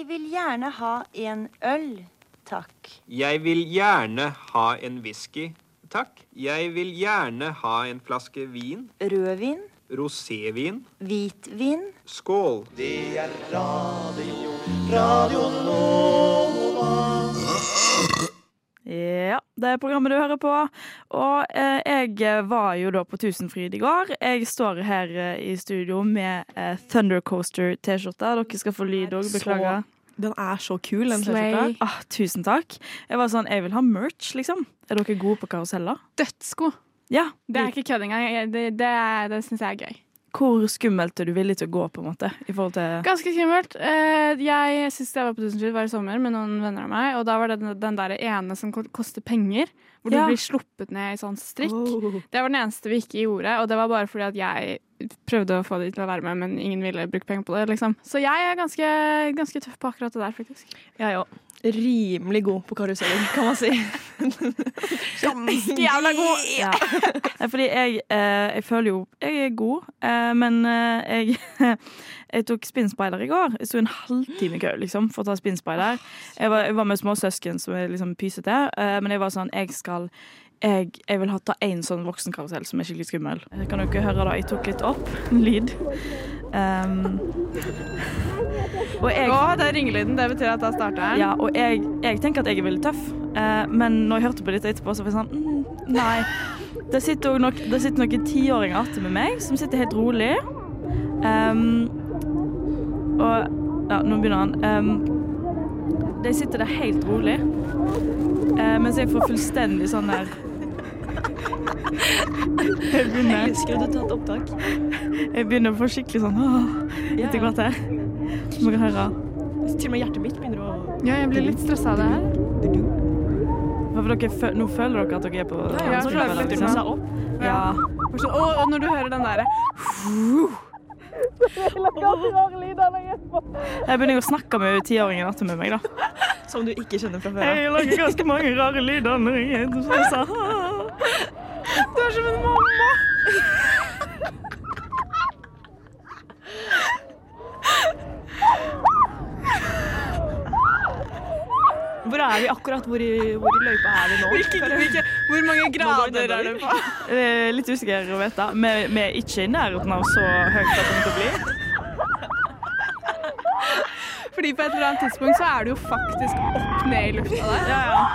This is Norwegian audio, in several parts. gjerne ha en øl, takk. Jeg vil gjerne ha en whisky, takk. Jeg vil gjerne ha en flaske vin. Rødvin, Rosévin. hvitvin, Skål. Det er radio, radio Nova. Ja, det er programmet du hører på. Og eh, jeg var jo da på Tusenfryd i går. Jeg står her eh, i studio med eh, Thundercoaster-T-skjorte. Dere skal få lyd òg, Så beklager. Den er så kul, den Slay. T-skjorta. Ah, tusen takk. Jeg var sånn, jeg vil ha merch, liksom. Er dere gode på karuseller? Dødssko. Ja. Det er ikke kødd engang. Jeg- Det, det, er- det syns jeg er gøy. Hvor skummelt er du villig til å gå, på en måte? I forhold til Ganske skummelt. Eh, Jeg sist jeg var på Tusenfryd, var i sommer med noen venner av meg. Og da var det den, den der ene som ko- koster penger, hvor Ja. du blir sluppet ned i sånn strikk. Oh. Det var den eneste vi ikke gjorde, og det var bare fordi at jeg prøvde å få de til å være med, men ingen ville bruke penger på det, liksom. Så jeg er ganske, ganske tøff på akkurat det der, faktisk. Jeg òg. Rimelig god på karuseller, kan man si. Ganske jævla god! Ja. Nei, fordi jeg, eh, jeg føler jo Jeg er god, eh, men eh, jeg, jeg tok spinnspeider i går. Jeg sto en halvtime i kø liksom, for å ta spinnspeider. Jeg, var- jeg var med småsøsken som er liksom pysete, eh, men jeg var sånn Jeg skal jeg, jeg vil ha ta én sånn voksenkarusell som er skikkelig skummel. Eh, Kan dere høre da? Jeg tok litt opp lyd. Um, og jeg Å, det er ringelyden. Det betyr at da starter den. ja, og jeg, jeg tenker at jeg er veldig tøff, eh, men når jeg hørte på dette etterpå, så var jeg sånn mm, Nei. Det sitter, jo nok, det sitter noen tiåringer attmed meg som sitter helt rolig. Ehm, og Ja, nå begynner han. Ehm, de sitter der helt rolig, eh, mens jeg får fullstendig sånn der Jeg begynner Skulle du tatt opptak? jeg begynner å få skikkelig sånn åh, etter hvert her. Som dere hører. Altså, Til og med hjertet mitt begynner å Ja, jeg blir litt stressa av det her. Hva for Dere, fø- nå føler dere at dere er på Ja, Så jeg klarer føler det liksom- seg opp. Ja. Bare sånn, Å, og når du hører den derre Jeg begynner å snakke med tiåringen etter med meg, da. Som du ikke kjenner fra før. lager ganske mange rare lyder når jeg sa Du er som en mamma! Hvor er vi akkurat? Hvor i, hvor i løypa er vi nå? Hvor mange Nå går grader det er det på? Eh, Litt usikker å vite. Vi vi er ikke i nærheten av så høyt det kommer til å bli. Fordi på et eller annet tidspunkt så er du jo faktisk opp ned i lufta der. Ja, ja.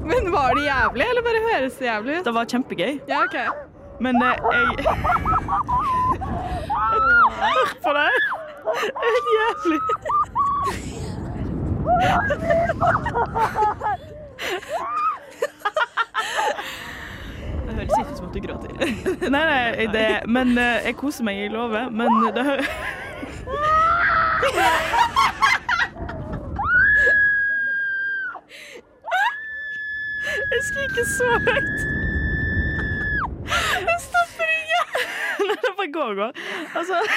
Men var det jævlig, eller bare høres det jævlig ut? Det var kjempegøy, Ja, OK. men eh, jeg Hør på det! Helt jævlig. Det høres ikke ut som at du gråter. Nei, nei, det, men eh, jeg koser meg, jeg lover. Men det hø- Jeg skriker så høyt. Jeg stopper ikke. Nei, det bare går og går. Altså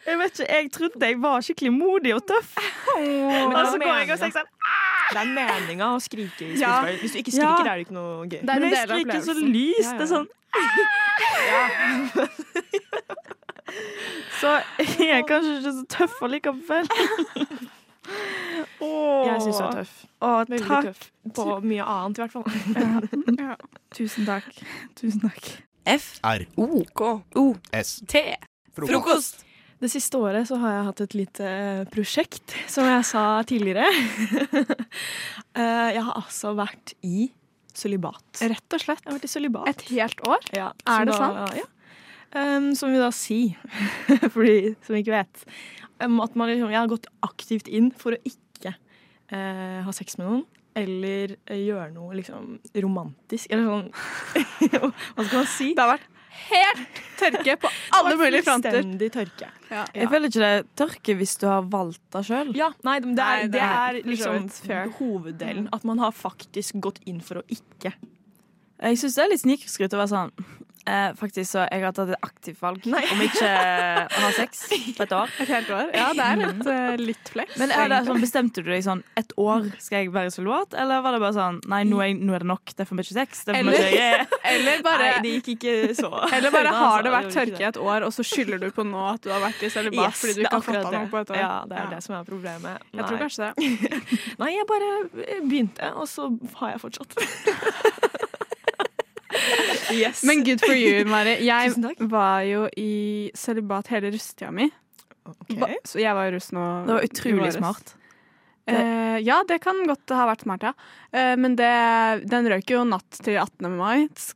Jeg vet ikke, jeg trodde jeg var skikkelig modig og tøff. Men Og det så er går jeg meningen. og sier sånn Det er meninga å skrike i Ja. skuespill. Hvis du ikke Ja. skriker, er det ikke noe gøy. Det er Men en del jeg av skriker så opplevelsen. lyst. Det er sånn Så jeg er kanskje ikke så tøff allikevel. Jeg syns du er tøff. Å, Veldig takk. tøff. På mye annet, i hvert fall. Tusen takk. Tusen takk. F R O Gå. O S T. Frokost. Det siste året så har jeg hatt et lite eh, prosjekt, som jeg sa tidligere. Eh, jeg har altså vært i sølibat. Jeg Rett og slett. har vært i sølibat. Et helt år? Ja, som Er det da, Ja. Ehm, som vi da sier, for de som ikke vet. Ehm, at man liksom, jeg har gått aktivt inn for å ikke eh, ha sex med noen. Eller eh, gjøre noe liksom romantisk, eller sånn Hva skal man si? Det har vært helt tørke på alle mulige fronter. Fullstendig tørke. Jeg føler ikke det er tørke hvis du har valgt det sjøl. Ja, nei, men det Nei, er, det det er er for så liksom vidt fair. hoveddelen. At man har faktisk gått inn for å ikke. Jeg syns det er litt snikskryt å være sånn Eh, faktisk så jeg har tatt et aktivt valg om ikke eh, å ha sex på et år. Et helt år? Ja, det er litt, eh, litt flex. Men er det sånn, Bestemte du deg sånn ett år skal jeg være soldat, eller var det bare sånn nei, nå er, nå er det nok, det er for mye sex? Det er for Eller- mye jeg er. Eller bare, Nei, det gikk ikke så eller bare Nei, har altså, det vært gjorde ikke tørke i et år, og så skylder du på nå at du har vært i celibat Yes, fordi du det er ikke har akkurat fått det. noe på et år. Ja, det er det som er problemet. Jeg tror Nei. kanskje det. Nei, jeg bare eh, begynte, og så har jeg fortsatt. yes. Men good for you, Mari. Jeg Tusen takk. var jo i celibat hele russetida mi. Ba- Så jeg var jo russ nå. Det var i utrolig våres. smart. Eh, ja, det kan godt ha vært smart, ja. Eh, men det, den røyk jo natt til 18. mai, s-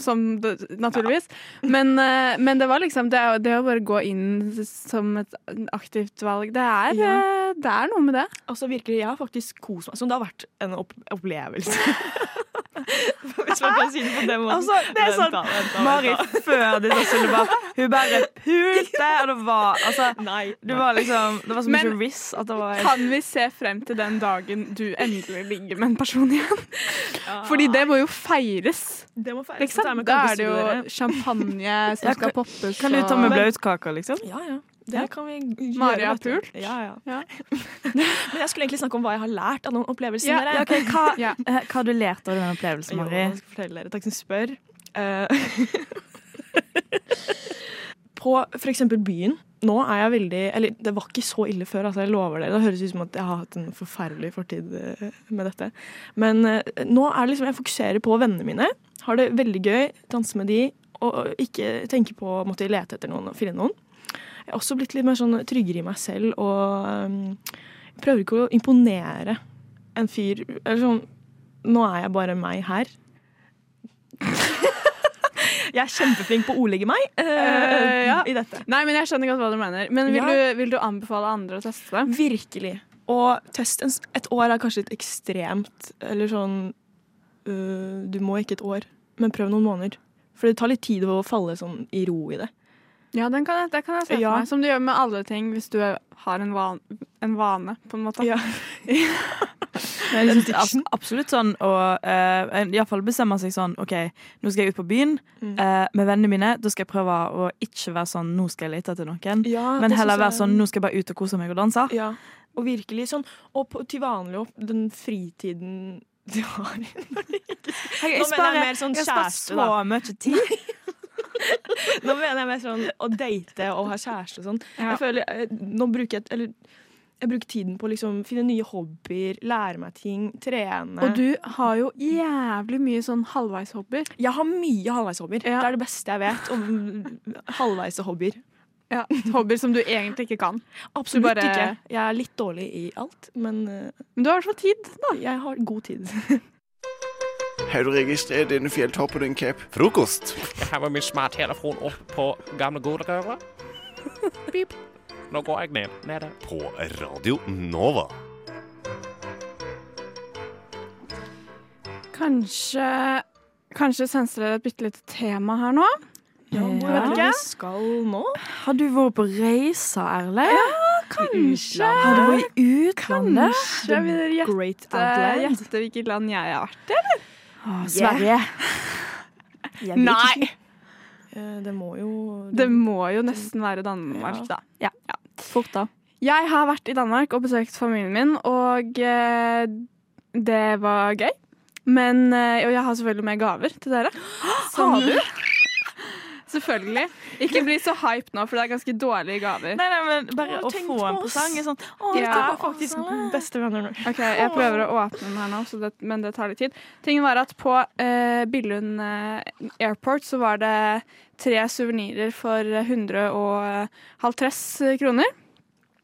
som det, naturligvis. Men, eh, men det var liksom det, å- det å bare gå inn s- som et aktivt valg, det er, eh, det er noe med det. Altså virkelig, Jeg har faktisk kost meg. Som det har vært en opp opplevelse. Hvis man kan si det på den måten. Altså, det er sånn Mari før disse celibat, hun bare pulte, og det var altså Nei. det var liksom, det var så mye Men- riss at det var Kan vi se frem til den dagen du endelig ligger med en person igjen? Fordi det må jo feires. Det må feires. Ikke sant? Da er det jo champagne som Ja, skal kan- poppes. Kan du ta og- med blautkaker, liksom? Ja, ja. Det Ja. kan vi gjøre. Mari har vet du. pult. Ja, ja. Ja. Men jeg skulle egentlig snakke om hva jeg har lært av noen opplevelser. Ja, dere. Ja, ok, hva, Ja. eh, hva har du lært av den opplevelsen, Mari? Jo, jeg skal fortelle dere. Takk som spør. Eh, på for eksempel byen. Nå er jeg veldig Eller det var ikke så ille før, altså jeg lover dere. Det høres ut som at jeg har hatt en forferdelig fortid eh, med dette. Men eh, nå er det liksom Jeg fokuserer på vennene mine. Har det veldig gøy. Danse med de. Og og ikke tenke på å måtte lete etter noen og finne noen. Jeg har også blitt litt mer sånn tryggere i meg selv og eh, prøver ikke å imponere en fyr Eller sånn nå er jeg bare meg her. jeg er kjempeflink på å ordlegge meg eh, Eh, ja. i dette. Nei, men jeg skjønner godt hva du mener. Men vil, Ja. du, vil du anbefale andre å teste det? Virkelig. Og test en, s- et år er kanskje litt ekstremt, eller sånn øh, Du må ikke et år, men prøv noen måneder. For det tar litt tid å falle sånn i ro i det. Ja, den kan jeg, det kan jeg se for Ja. meg. Som du gjør med alle ting hvis du er- har en vane, en vane på en måte. Ja. Nei, liksom jeg synes ab absolutt sånn å eh, i hvert fall bestemme seg sånn OK, nå skal jeg ut på byen Mm. eh, med vennene mine. Da skal jeg prøve å ikke være sånn nå skal jeg lete etter noen. Men heller være sånn nå skal jeg bare ut og kose meg og danse. Ja, og virkelig sånn. Og på, til vanlig opp den fritiden du har. Jeg, Nå mener jeg sparer- mer sånn jeg sparer kjæreste, så mye tid. Nå mener jeg mer sånn å date og ha kjæreste og sånn. Ja. Jeg føler, eh, nå bruker jeg, eller, jeg bruker tiden på å liksom finne nye hobbyer, lære meg ting, trene. Og du har jo jævlig mye sånn halvveishobbyer. jeg har mye halvveishobbyer. Ja. Det er det beste jeg vet om halvveise hobbyer. Hobbyer som du egentlig ikke kan. Absolutt bare- ikke. Jeg er litt dårlig i alt, men eh, Men du har i hvert fall tid. jeg har god tid. Har du registrert denne fjelltoppen din, Cap? Frokost. Jeg har med min smarttelefon opp på gamle godrøra. Pip. Nå går jeg ned. Nede. På Radio Nova. Kanskje, kanskje senser dere et bitte lite tema her nå? Eh, Ja, hvor Ja. er det vi skal nå? Har du vært på reise, Erle? Kanskje. Har du vært i utlandet? Kanskje vil dere gjette, Great Outland. Eh, gjette hvilket land jeg har vært i? Å, Sverige. Nei! Eh, Det må jo Det må jo nesten være Danmark, da. Fort, da. Jeg har vært i Danmark og besøkt familien min, og eh, det var gøy. Men, eh, og jeg har selvfølgelig med gaver til dere. Har du? Selvfølgelig. Ikke bli så hype nå, for det er ganske dårlige gaver. Nei, nei, men bare Å, å tenk få på en oss. presang er sånn Å, Ja. dette var faktisk faktisk bestevenner nå. Ok, Jeg prøver å åpne den her nå, så det, men det tar litt tid. Tingen var at På eh, Billund eh, Airport så var det tre suvenirer for 150 kroner.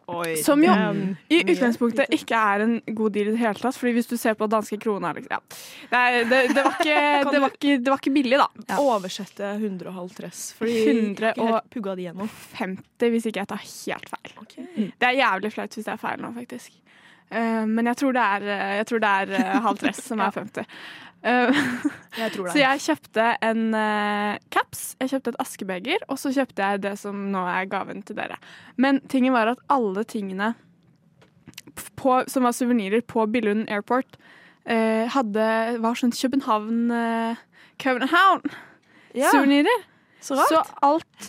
Oi. Som jo Mm. i Mye. utgangspunktet ikke er en god deal i det hele tatt. Fordi hvis du ser på danske kroner liksom, ja. Nei, det, det, var ikke, det, var ikke, det var ikke billig, da. Oversette 150. Fordi Hundre jeg og- helt pugga det gjennom. 50, hvis ikke jeg tar helt feil. Det er jævlig flaut hvis det er feil nå, faktisk. Eh, men jeg tror det er, eh, jeg tror det er eh, halv dress som er 50. Eh, Jeg tror så jeg kjøpte en eh, caps, jeg kjøpte et askebeger, og så kjøpte jeg det som nå er gaven til dere. Men tingen var at alle tingene på, som var suvenirer på Billund Airport, eh, hadde, var sånn København eh, København! Ja, Suvenirer. så rart. Så alt,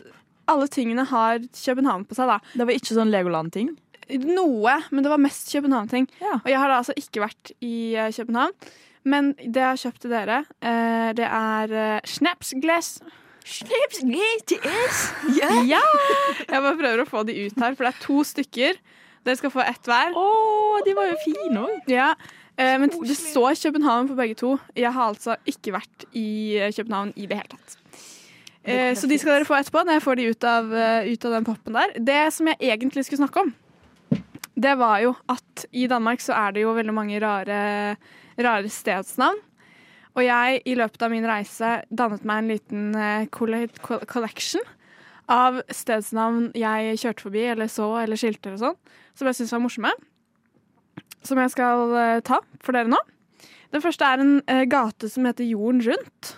alle tingene har København på seg, da. det var ikke sånn Legoland-ting. Noe, men det var mest København-ting. Ja. Og jeg har da altså ikke vært i eh, København. Men det jeg har kjøpt til dere, eh, det er eh, snapsglass. Slips litt is. Ja. Ja! Jeg bare prøver å få de ut her, for det er to stykker. Dere skal få ett hver. Å, de var jo fine òg. Ja. eh, Men det står København på begge to. Jeg har altså ikke vært i eh, København i det hele tatt. Eh, Så de skal dere få etterpå, når jeg får de ut av, eh, ut av den poppen der. Det som jeg egentlig skulle snakke om, det var jo at i Danmark så er det jo veldig mange rare, rare stedsnavn. Og jeg, i løpet av min reise, dannet meg en liten eh, colle- co- collection av stedsnavn jeg kjørte forbi, eller så, eller skilter og sånn, som jeg syntes var morsomme. Som jeg skal eh, ta for dere nå. Den første er en eh, gate som heter Jorden rundt.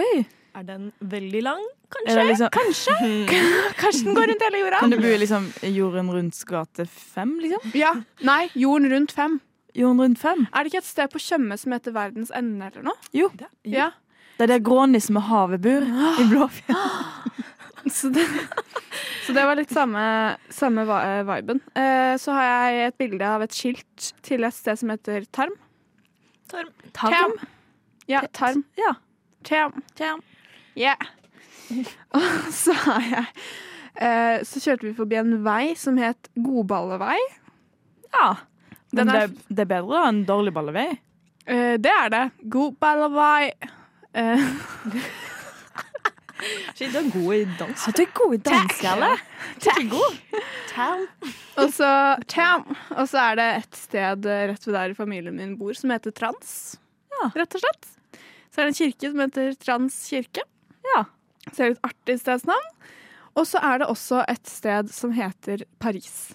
Oi. Er den veldig lang? Er det Kanskje? liksom, Mhm. Kanskje. Kanskje den går rundt hele jorda. kan det bo i liksom Jorden rundt gate fem, liksom? Ja. Nei, Jorden rundt fem. Jorden rundt fem? Er det ikke et sted på Tjøme som heter Verdens ende, eller noe? Jo. Ja. Det er der grånissen med havet bor. I Blåfjell. Så det, så det var litt samme, samme va- eh, viben. Eh, så har jeg et bilde av et skilt til et sted som heter Tarm. Tarm. Tarm. Ja, Tarm. Ja. Tarm. Tarm. Yeah. Og så har jeg eh, Så kjørte vi forbi en vei som het Godballevei. Ja. Den Men det, er- det er bedre da enn dårlig ballevei. Eh, det er det. Godballevei. Eh, Shit, du er god i dans. du er god i dansk, eller? og så Tarm. Og så er det et sted eh, rett ved der familien min bor som heter Trans. Ja. Rett og slett. Så er det en kirke som heter Trans kirke. Ja. Så det er et artig stedsnavn. Og så er det også et sted som heter Paris.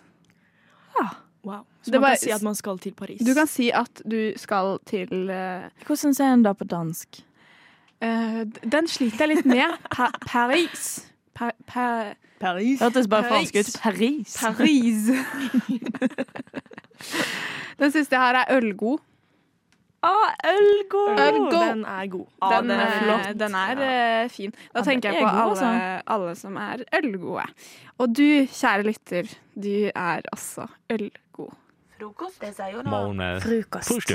Wow. Så Det man var- kan si at man skal til Paris. Du kan si at du skal til eh, Hvordan sier en det på dansk? eh, d- Den sliter jeg litt med. Pa Paris. Pa pa Det hørtes bare Paris. fransk ut. Paris. Paris. den siste her er Ølgo. Ah, Ølgå! Ølgå. Den er god. Den, den er eh, flott. den er eh, fin. Da Ja, tenker den jeg er på god, altså. alle, alle som er ølgode. Og du, kjære lytter, du er altså også ølgod. eh, Måned. Frokost.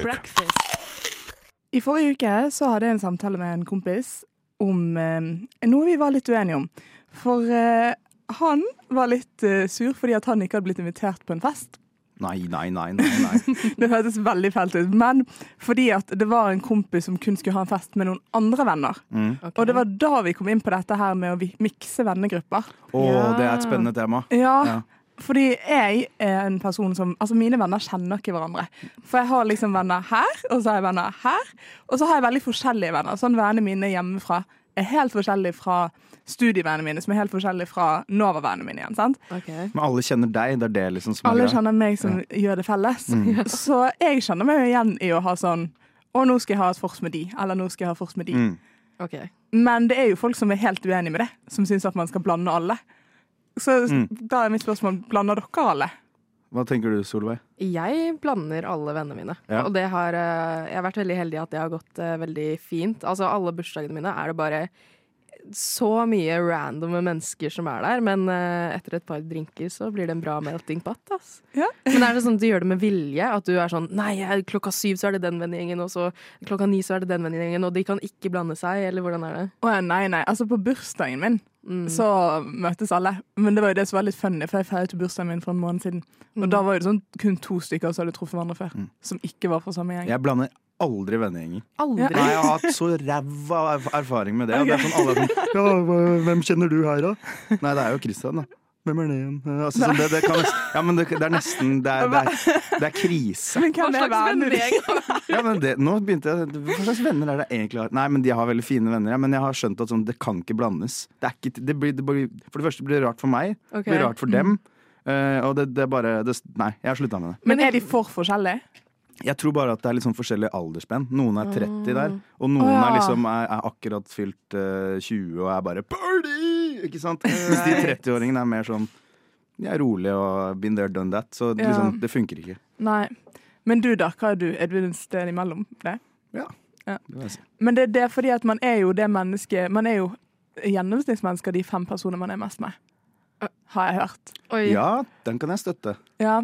I forrige uke så hadde jeg en samtale med en kompis om eh, noe vi var litt uenige om. For eh, han var litt eh, sur fordi at han ikke hadde blitt invitert på en fest. Nei, nei, nei, nei. nei. Det hørtes veldig fælt ut. Men fordi at det var en kompis som kun skulle ha en fest med noen andre venner. Mm. Og det var da vi kom inn på dette her med å vi- mikse vennegrupper. Å, det er et spennende tema. Ja, Ja. fordi jeg er en person som Altså, mine venner kjenner ikke hverandre. For jeg har liksom venner her, og så har jeg venner her. Og så har jeg veldig forskjellige venner. Sånn Vennene mine hjemmefra er helt forskjellige fra studievennene mine, som er helt forskjellige fra Nova-vennene mine igjen. sant? Men alle kjenner deg, det er det liksom som er Alle greia. kjenner meg som gjør det felles. Så jeg kjenner meg jo igjen i å ha sånn Å, nå skal jeg ha et vors med de. Eller nå skal jeg ha vors med de. Mm. Men det er jo folk som er helt uenige med det, som syns at man skal blande alle. Så Mm. da er mitt spørsmål blander dere alle? Hva tenker du, Solveig? Jeg blander alle vennene mine. Ja. Og det har, eh, jeg har vært veldig heldig at det har gått eh, veldig fint. Altså Alle bursdagene mine er det bare så mye randome mennesker som er der. Men eh, etter et par drinker så blir det en bra melting pot. Ass. Ja. Men er det sånn at du gjør det med vilje? At du er sånn Nei, jeg- klokka syv så er det den vennegjengen, og så klokka ni så er det den vennegjengen, og de kan ikke blande seg, eller hvordan er det? Å ja, nei, nei. Altså, på bursdagen min Mm. så møttes alle. Men det var jo det som var litt funny, for jeg feiret jo bursdagen min for en måned siden. Og da var det sånn kun to stykker som hadde truffet hverandre før, Mm. som ikke var fra samme gjeng. Jeg blander aldri vennegjenger. Aldri! Nei, jeg har hatt så ræva erf- erfaring med det. Og det er sånn alle er sånn Ja, hva- hvem kjenner du her, da? Nei, det er jo Christian, da. Hvem er det igjen? Eh, Altså, sånn, det, det kan nesten, ja, men det, det er nesten Det er, det er, det er krise. Men hvem er vennen din? Ja, men det, nå begynte jeg Hva slags venner er det jeg egentlig har? Nei, men de har veldig fine venner, ja, men jeg har skjønt at sånn, det kan ikke blandes. Det er ikke, det blir, det blir, for det første blir det rart for meg, Ok. det blir rart for dem. Mm. eh, og det, det er bare det, Nei, jeg har slutta med det. Men er de for forskjellige? Jeg tror bare at det er litt sånn forskjellig aldersspenn. Noen er 30 der, og noen Å, ja. er liksom er, er akkurat fylt eh, 20 og er bare 'party!' Ikke sant? Eh, Mens de 30-åringene er mer sånn De er rolig og been there, done that. Så Ja. liksom, det funker ikke. Nei. Men du, da? Hva er du? Er du et sted imellom det? Ja. Det vil jeg si. Men det, det er fordi at man er jo det mennesket Man er jo gjennomsnittsmennesker, de fem personene man er mest med. Har jeg hørt. Ja, den kan jeg støtte. Ja.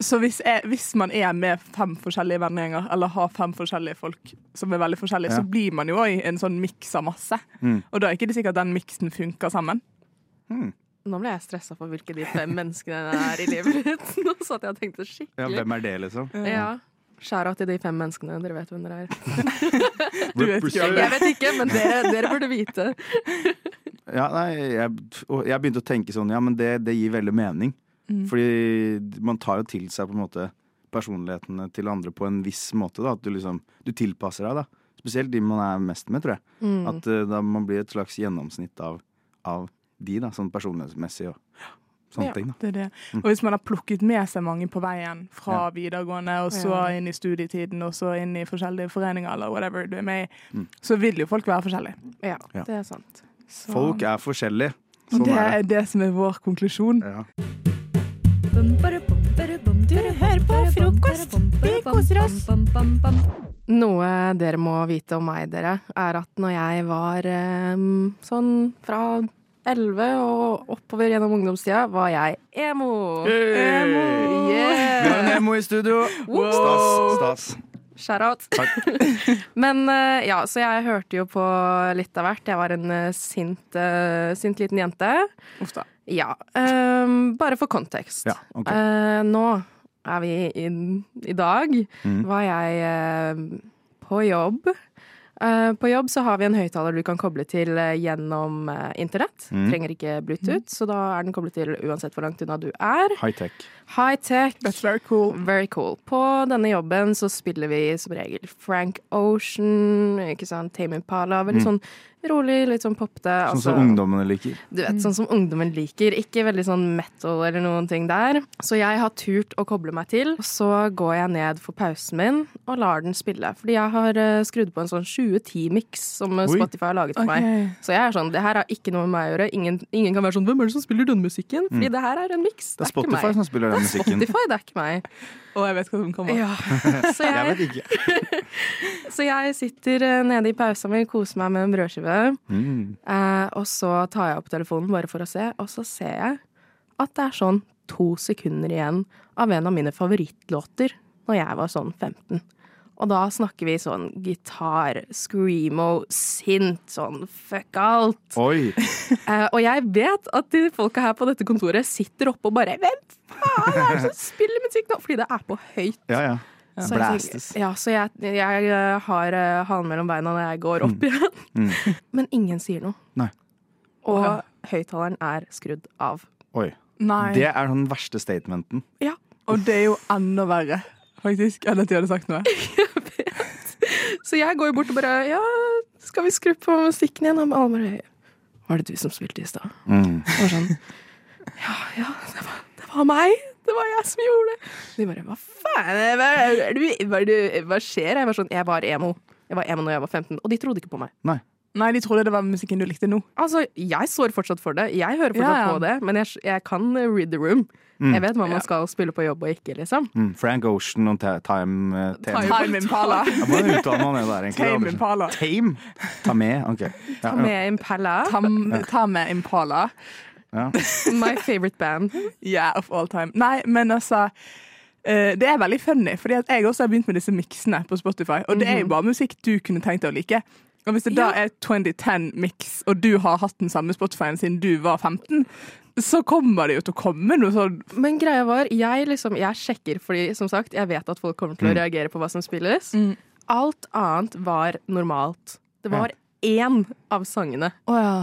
Så hvis, jeg, hvis man er med fem forskjellige vennegjenger, eller har fem forskjellige folk som er veldig forskjellige, Ja. så blir man jo òg en sånn miks av masse. Mm. Og da er ikke det sikkert den miksen funker sammen. Nå ble jeg stressa for hvilke de fem menneskene er i livet mitt. Nå satt jeg og tenkte Ja, skikkelig. hvem er det, liksom? Ja. Skjæra til de fem menneskene. Dere vet hvem dere er. Du vet ikke. Jeg vet ikke, men dere, dere burde vite. Ja, nei, jeg, og jeg begynte å tenke sånn, ja, men det, det gir veldig mening. Mm. Fordi man tar jo til seg på en måte personlighetene til andre på en viss måte. da, At du liksom, du tilpasser deg, da. Spesielt de man er mest med, tror jeg. Mm. At eh, da man blir et slags gjennomsnitt av, av de, da, sånn personlighetsmessig og sånne Ja, ting. da. Det er det. Mm. Og hvis man har plukket med seg mange på veien fra Ja. videregående, og så Ja. inn i studietiden, og så inn i forskjellige foreninger eller whatever du er med i, Mm. så vil jo folk være forskjellige. Ja, Ja. det er sant. Så- Folk er forskjellige. Og Sånn det er det. er det som er vår konklusjon. Ja. Du hører på frokost. Vi koser oss. Noe dere må vite om meg, dere, er at når jeg var em, sånn fra 11 og oppover gjennom ungdomstida, var jeg emo. Emo! Vi har Yeah. en emo i studio! Wow. Stas. Stas. Shout out. Men eh, ja, så jeg hørte jo på litt av hvert. Jeg var en eh, sint, eh, sint liten jente. Uff da. Ja. ehm, bare for kontekst. Ja, ok. Eh, nå er vi i, i dag. Mm. Mm. Var jeg eh, på jobb. Eh, på jobb så har vi en høyttaler du kan koble til eh, gjennom eh, internett. Mm. Trenger ikke Bluetooth, så da er den koblet til uansett hvor langt unna du er. High-tech. High-tech. That's very cool. Very cool. På denne jobben så spiller vi som regel Frank Ocean, ikke sant, Tame Impala. Veldig Mm. sånn rolig, litt sånn popte. Sånn altså- som ungdommene liker. du vet, sånn som ungdommen liker. Ikke veldig sånn metal eller noen ting der. Så jeg har turt å koble meg til. Så går jeg ned for pausen min og lar den spille. Fordi jeg har eh, skrudd på en sånn 2010-miks som eh, Oi. Spotify har laget for meg. Ok. Så jeg er sånn, det her har ikke noe med meg å gjøre. Ingen, ingen kan være sånn, hvem er det som spiller denne musikken? Fordi det her er en miks. Det er Mm. Det er ikke Spotify meg. som spiller den musikken. Spotify, det er ikke meg. Og jeg vet hva som kommer. Så jeg, Jeg vet ikke. så jeg sitter eh, nede i pausen min, koser meg med en brødskive. Mm. Eh, og så tar jeg opp telefonen bare for å se, og så ser jeg at det er sånn to sekunder igjen av en av mine favorittlåter når jeg var sånn 15. Og da snakker vi sånn gitar, screamo, sint, sånn fuck alt. Oi! Eh, og jeg vet at de folka her på dette kontoret sitter oppe og bare Hvem faen er det som spiller musikk nå? Fordi det er på høyt. Ja, ja. Så jeg Blastes. tenker- Ja, så jeg, jeg eh, har eh, halen mellom beina når jeg går opp igjen. Mm. Men ingen sier noe. Nei. Og høyttaleren er skrudd av. Oi. Nei. Det er den verste statementen. Og det er jo enda verre, faktisk, enn at de hadde sagt noe. Så jeg går bort og bare Ja, skal vi skru på musikken igjen? Og alle bare Var det du som spilte i stad? Mm. Og var sånn Ja, ja, det var, det var meg. Det var jeg som gjorde det. De bare Hva faen er det? Er du- Hva, er du- hva skjer? Jeg var sånn Jeg var emo. Jeg var emo når jeg var 15, og de trodde ikke på meg. Nei, de trodde det var musikken du likte nå. Altså, jeg står fortsatt for det. Jeg hører fortsatt Ja, ja. på det, men jeg, jeg kan read the room. Jeg vet hva man skal spille på jobb og ikke, liksom. Mm. Frank Ocean og Ta- Time eh, Tame. Time Impala. Ja, Hvordan uttaler man det der, Tame egentlig? Impala. Tame? Ta med? Ok. Ja, Ta ja. med Impala, Tam, Tame Impala. Ja. my favorite band. Yeah, of all time. Nei, men altså eh, det er veldig funny, fordi at jeg også har begynt med disse miksene på Spotify. Og det er Mhm. jo bare musikk du kunne tenkt deg å like. Og hvis det da er 2010-miks, og du har hatt den samme Spotify-en siden du var 15, så kommer det jo til å komme noe sånn Men greia var, jeg, liksom, jeg sjekker, fordi som sagt, jeg vet at folk kommer Mm. til å reagere på hva som spilles. Mm. Alt annet var normalt. Det var én av sangene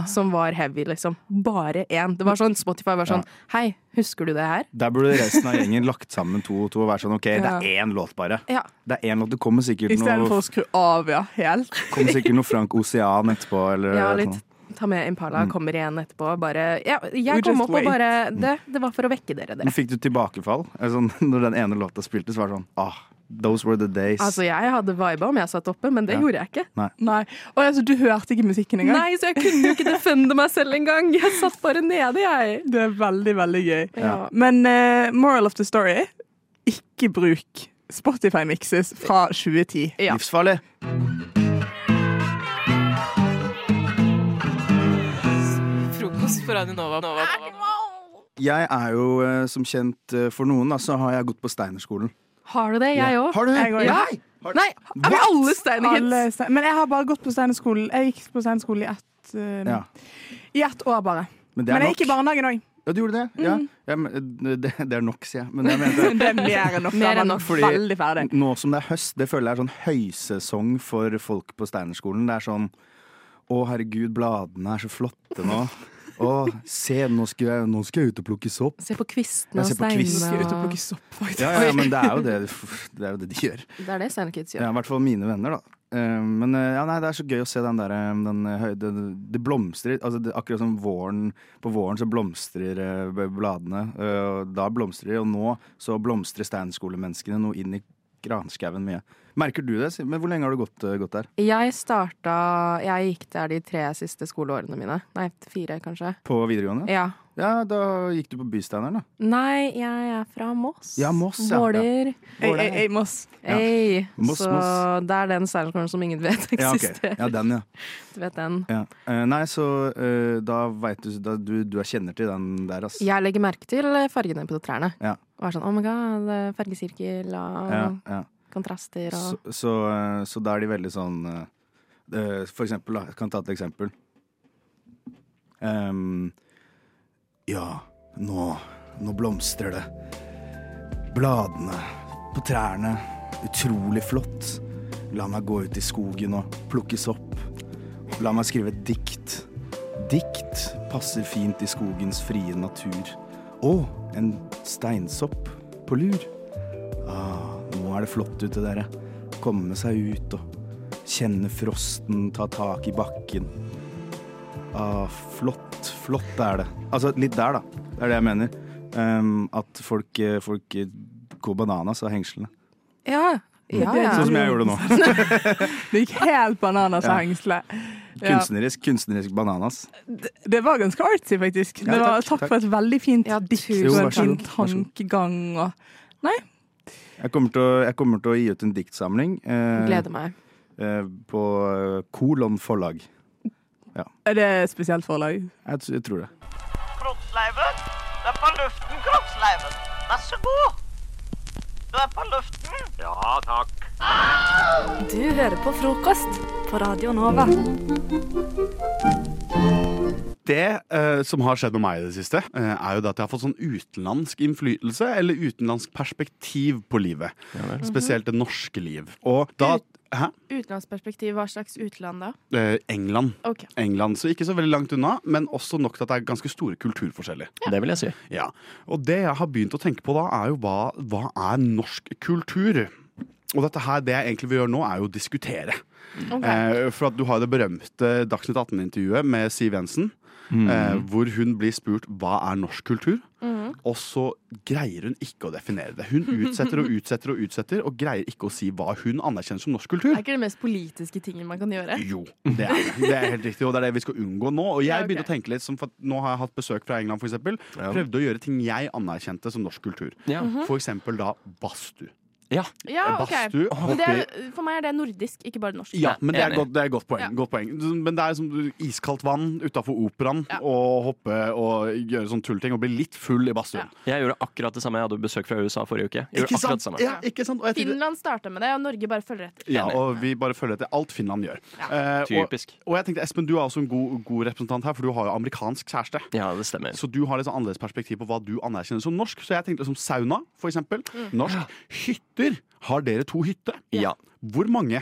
som var heavy, liksom. Bare én. Det var sånn, Spotify var sånn Hei, husker du det her? Der burde resten av gjengen lagt sammen to og to og vært sånn OK, det er én låt, bare. Ja. Det er én låt. Det kommer sikkert Istedenfor noe, å skru av, ja, helt. kommer sikkert noe Frank Ocean etterpå, eller Ja, noe litt. sånt. Ta med Mm. Impala, kommer igjen etterpå. Bare, ja, jeg We kom just opp wait. og bare det, det var for å vekke dere, Men dere. fikk du tilbakefall? Altså, når den ene låta spilte, så var det sånn Ah, those were the days. Altså, jeg hadde viba om jeg satt oppe, men det Ja. gjorde jeg ikke. Nei. Å, altså, du hørte ikke musikken engang? Nei, så jeg kunne jo ikke defende meg selv engang. Jeg satt bare nede, jeg. Det er veldig, veldig gøy. Ja. Men eh, moral of the story ikke bruk Spotify-mikses fra 2010. Ja. Livsfarlig! Frokost på Radio Nova. Nova. Jeg er jo eh, som kjent eh, for noen, da, så har jeg gått på Steinerskolen. Har du det? Jeg Ja. òg. Har du det? Ja. Nei! Nei, er vi alle Alle Steinerkids? Stein- Men jeg har bare gått på Steinerskolen. Jeg gikk på Steinerskolen i ett eh, Ja. I ett år, bare. Men, Men det er jeg gikk i nok. barnehagen òg. Ja, du gjorde det? Ja. Mm. Ja, men, eh, det, det er nok, sier jeg. Men jeg mente, Det er mer enn nok. Mer enn Da var nok. man veldig ferdig. Nå som det er høst, det føler jeg er sånn høysesong for folk på Steinerskolen. Det er sånn Å, herregud, bladene er så flotte nå. Å, se, nå skal, jeg, nå skal jeg ut og plukke sopp. Se på kvistene Jeg og ser på steinene. kvisten. og- Ut og plukke sopp, Ja, ja, men det er jo det, det, er jo det de gjør. Det er det Steinerkids Ja, gjør. I hvert fall mine venner, da. Eh, Men eh, ja, nei, det er så gøy å se den der eh, den, eh, høy- den, Det blomstrer. Altså, det, akkurat som våren På våren så blomstrer eh, b- bladene. eh, og Da blomstrer de, og nå så blomstrer steinskolemenneskene noe inn i granskauen mye. Merker du det? Sim- Men hvor lenge har du gått, eh, gått der? Jeg starta Jeg gikk der de tre siste skoleårene mine. Nei, fire, kanskje. På videregående? Ja. Ja, da gikk du på Bysteineren, da. Nei, jeg er fra Moss. Ja, Moss, ja. Våler. Ja. Våler. Ei, ei, ei, Moss. Ja. Moss, så Moss. det er den steinerskolen som ingen vet Ja, ok. eksisterer. ja, den, ja. Du vet den. ja. Eh, Nei, så eh, da veit du da, du, du kjenner til den der, ass. Jeg legger merke til fargene på trærne. Ja. Og er sånn oh my god, fargesirkel og Ja, ja. kontraster og Så, så, eh, så da er de veldig sånn eh, eh, For eksempel, da. Jeg kan ta et eksempel. Ehm, ja, nå, nå blomstrer det. Bladene på trærne. Utrolig flott. La meg gå ut i skogen og plukke sopp. La meg skrive et dikt. Dikt passer fint i skogens frie natur. Å, en steinsopp på lur. Ah, nå er det flott ute, dere. Komme seg ut og kjenne frosten ta tak i bakken. Ah, flott, flott er det. Altså litt der, da. Det er det jeg mener. Ehm, at folk, eh, folk eh, går bananas av hengslene. Ja. ja, ja. Sånn som jeg gjorde nå. Det gikk helt bananas av Ja. hengselet. Ja. Kunstnerisk, kunstnerisk bananas. Det, det var ganske artsy, faktisk. Ja, det var, takk, takk, takk. for et veldig fint dikt tusen og Jo, vær en så fin god, vær så god. tankegang. Og... Nei, Jeg kommer til å, jeg kommer til å gi ut en diktsamling. eh, Gleder meg. eh, på eh, Kolon forlag. Ja, er det et spesielt forlag? jeg, t- jeg tror det. Kroppsleiven. Du er på luften, kroppsleiven. Vær så god. Du er på luften. Ja takk. Du hører på frokost på Radio Nova. Det eh, som har skjedd med meg i det siste, eh, er jo det at jeg har fått sånn utenlandsk innflytelse, eller utenlandsk perspektiv på livet. Spesielt det norske liv. Og da Hæ? Utenlandsperspektiv, hva slags utland da? Eh, England. Ok. England. Så ikke så veldig langt unna, men også nok til at det er ganske store kulturforskjeller. Det vil jeg si. Ja. Og det jeg har begynt å tenke på da, er jo hva, hva er norsk kultur? Og dette her, det jeg egentlig vil gjøre nå, er jo å diskutere. Ok. Eh, for at du har det berømte Dagsnytt 18-intervjuet med Siv Jensen, Mm. eh, hvor hun blir spurt hva er norsk kultur? Mm-hmm. Mhm. Og så greier hun ikke å definere det. Hun utsetter og utsetter og utsetter, og greier ikke å si hva hun anerkjenner som norsk kultur. Er ikke det mest politiske tingen man kan gjøre? Jo, det er, det. det er helt riktig, og det er det vi skal unngå nå. Og jeg Ja, ok. begynte å tenke litt, som for at Nå har jeg hatt besøk fra England, for eksempel. Ja. Prøvde å gjøre ting jeg anerkjente som norsk kultur. Ja. Mhm. For eksempel da badstue. Ja. Ja, ok. Badstue Men det er, oppi for meg er det nordisk, ikke bare norsk. ja, men det er, Enig. godt, det er godt, poeng, Ja. godt poeng. Men det er som iskaldt vann utafor operaen, og hoppe og gjøre sånn tullting og bli litt full i badstuen. Jeg gjorde akkurat det samme. Jeg hadde jo besøk fra USA forrige uke. Jeg gjorde Ikke akkurat sant? det samme. Ja, ikke sant? Og jeg tenkte- Finland starta med det, og Norge bare følger etter. Ja, og vi bare følger etter alt Finland gjør. Eh, Typisk. Og, og jeg tenkte, Espen, du er også en god, god representant her, for du har jo amerikansk kjæreste. Ja, det stemmer. Så du har litt sånn annerledes perspektiv på hva du anerkjenner som norsk. Så jeg tenkte som sauna, for eksempel. Norsk. Hytter. Har dere to hytter? Mm. Ja. Hvor mange?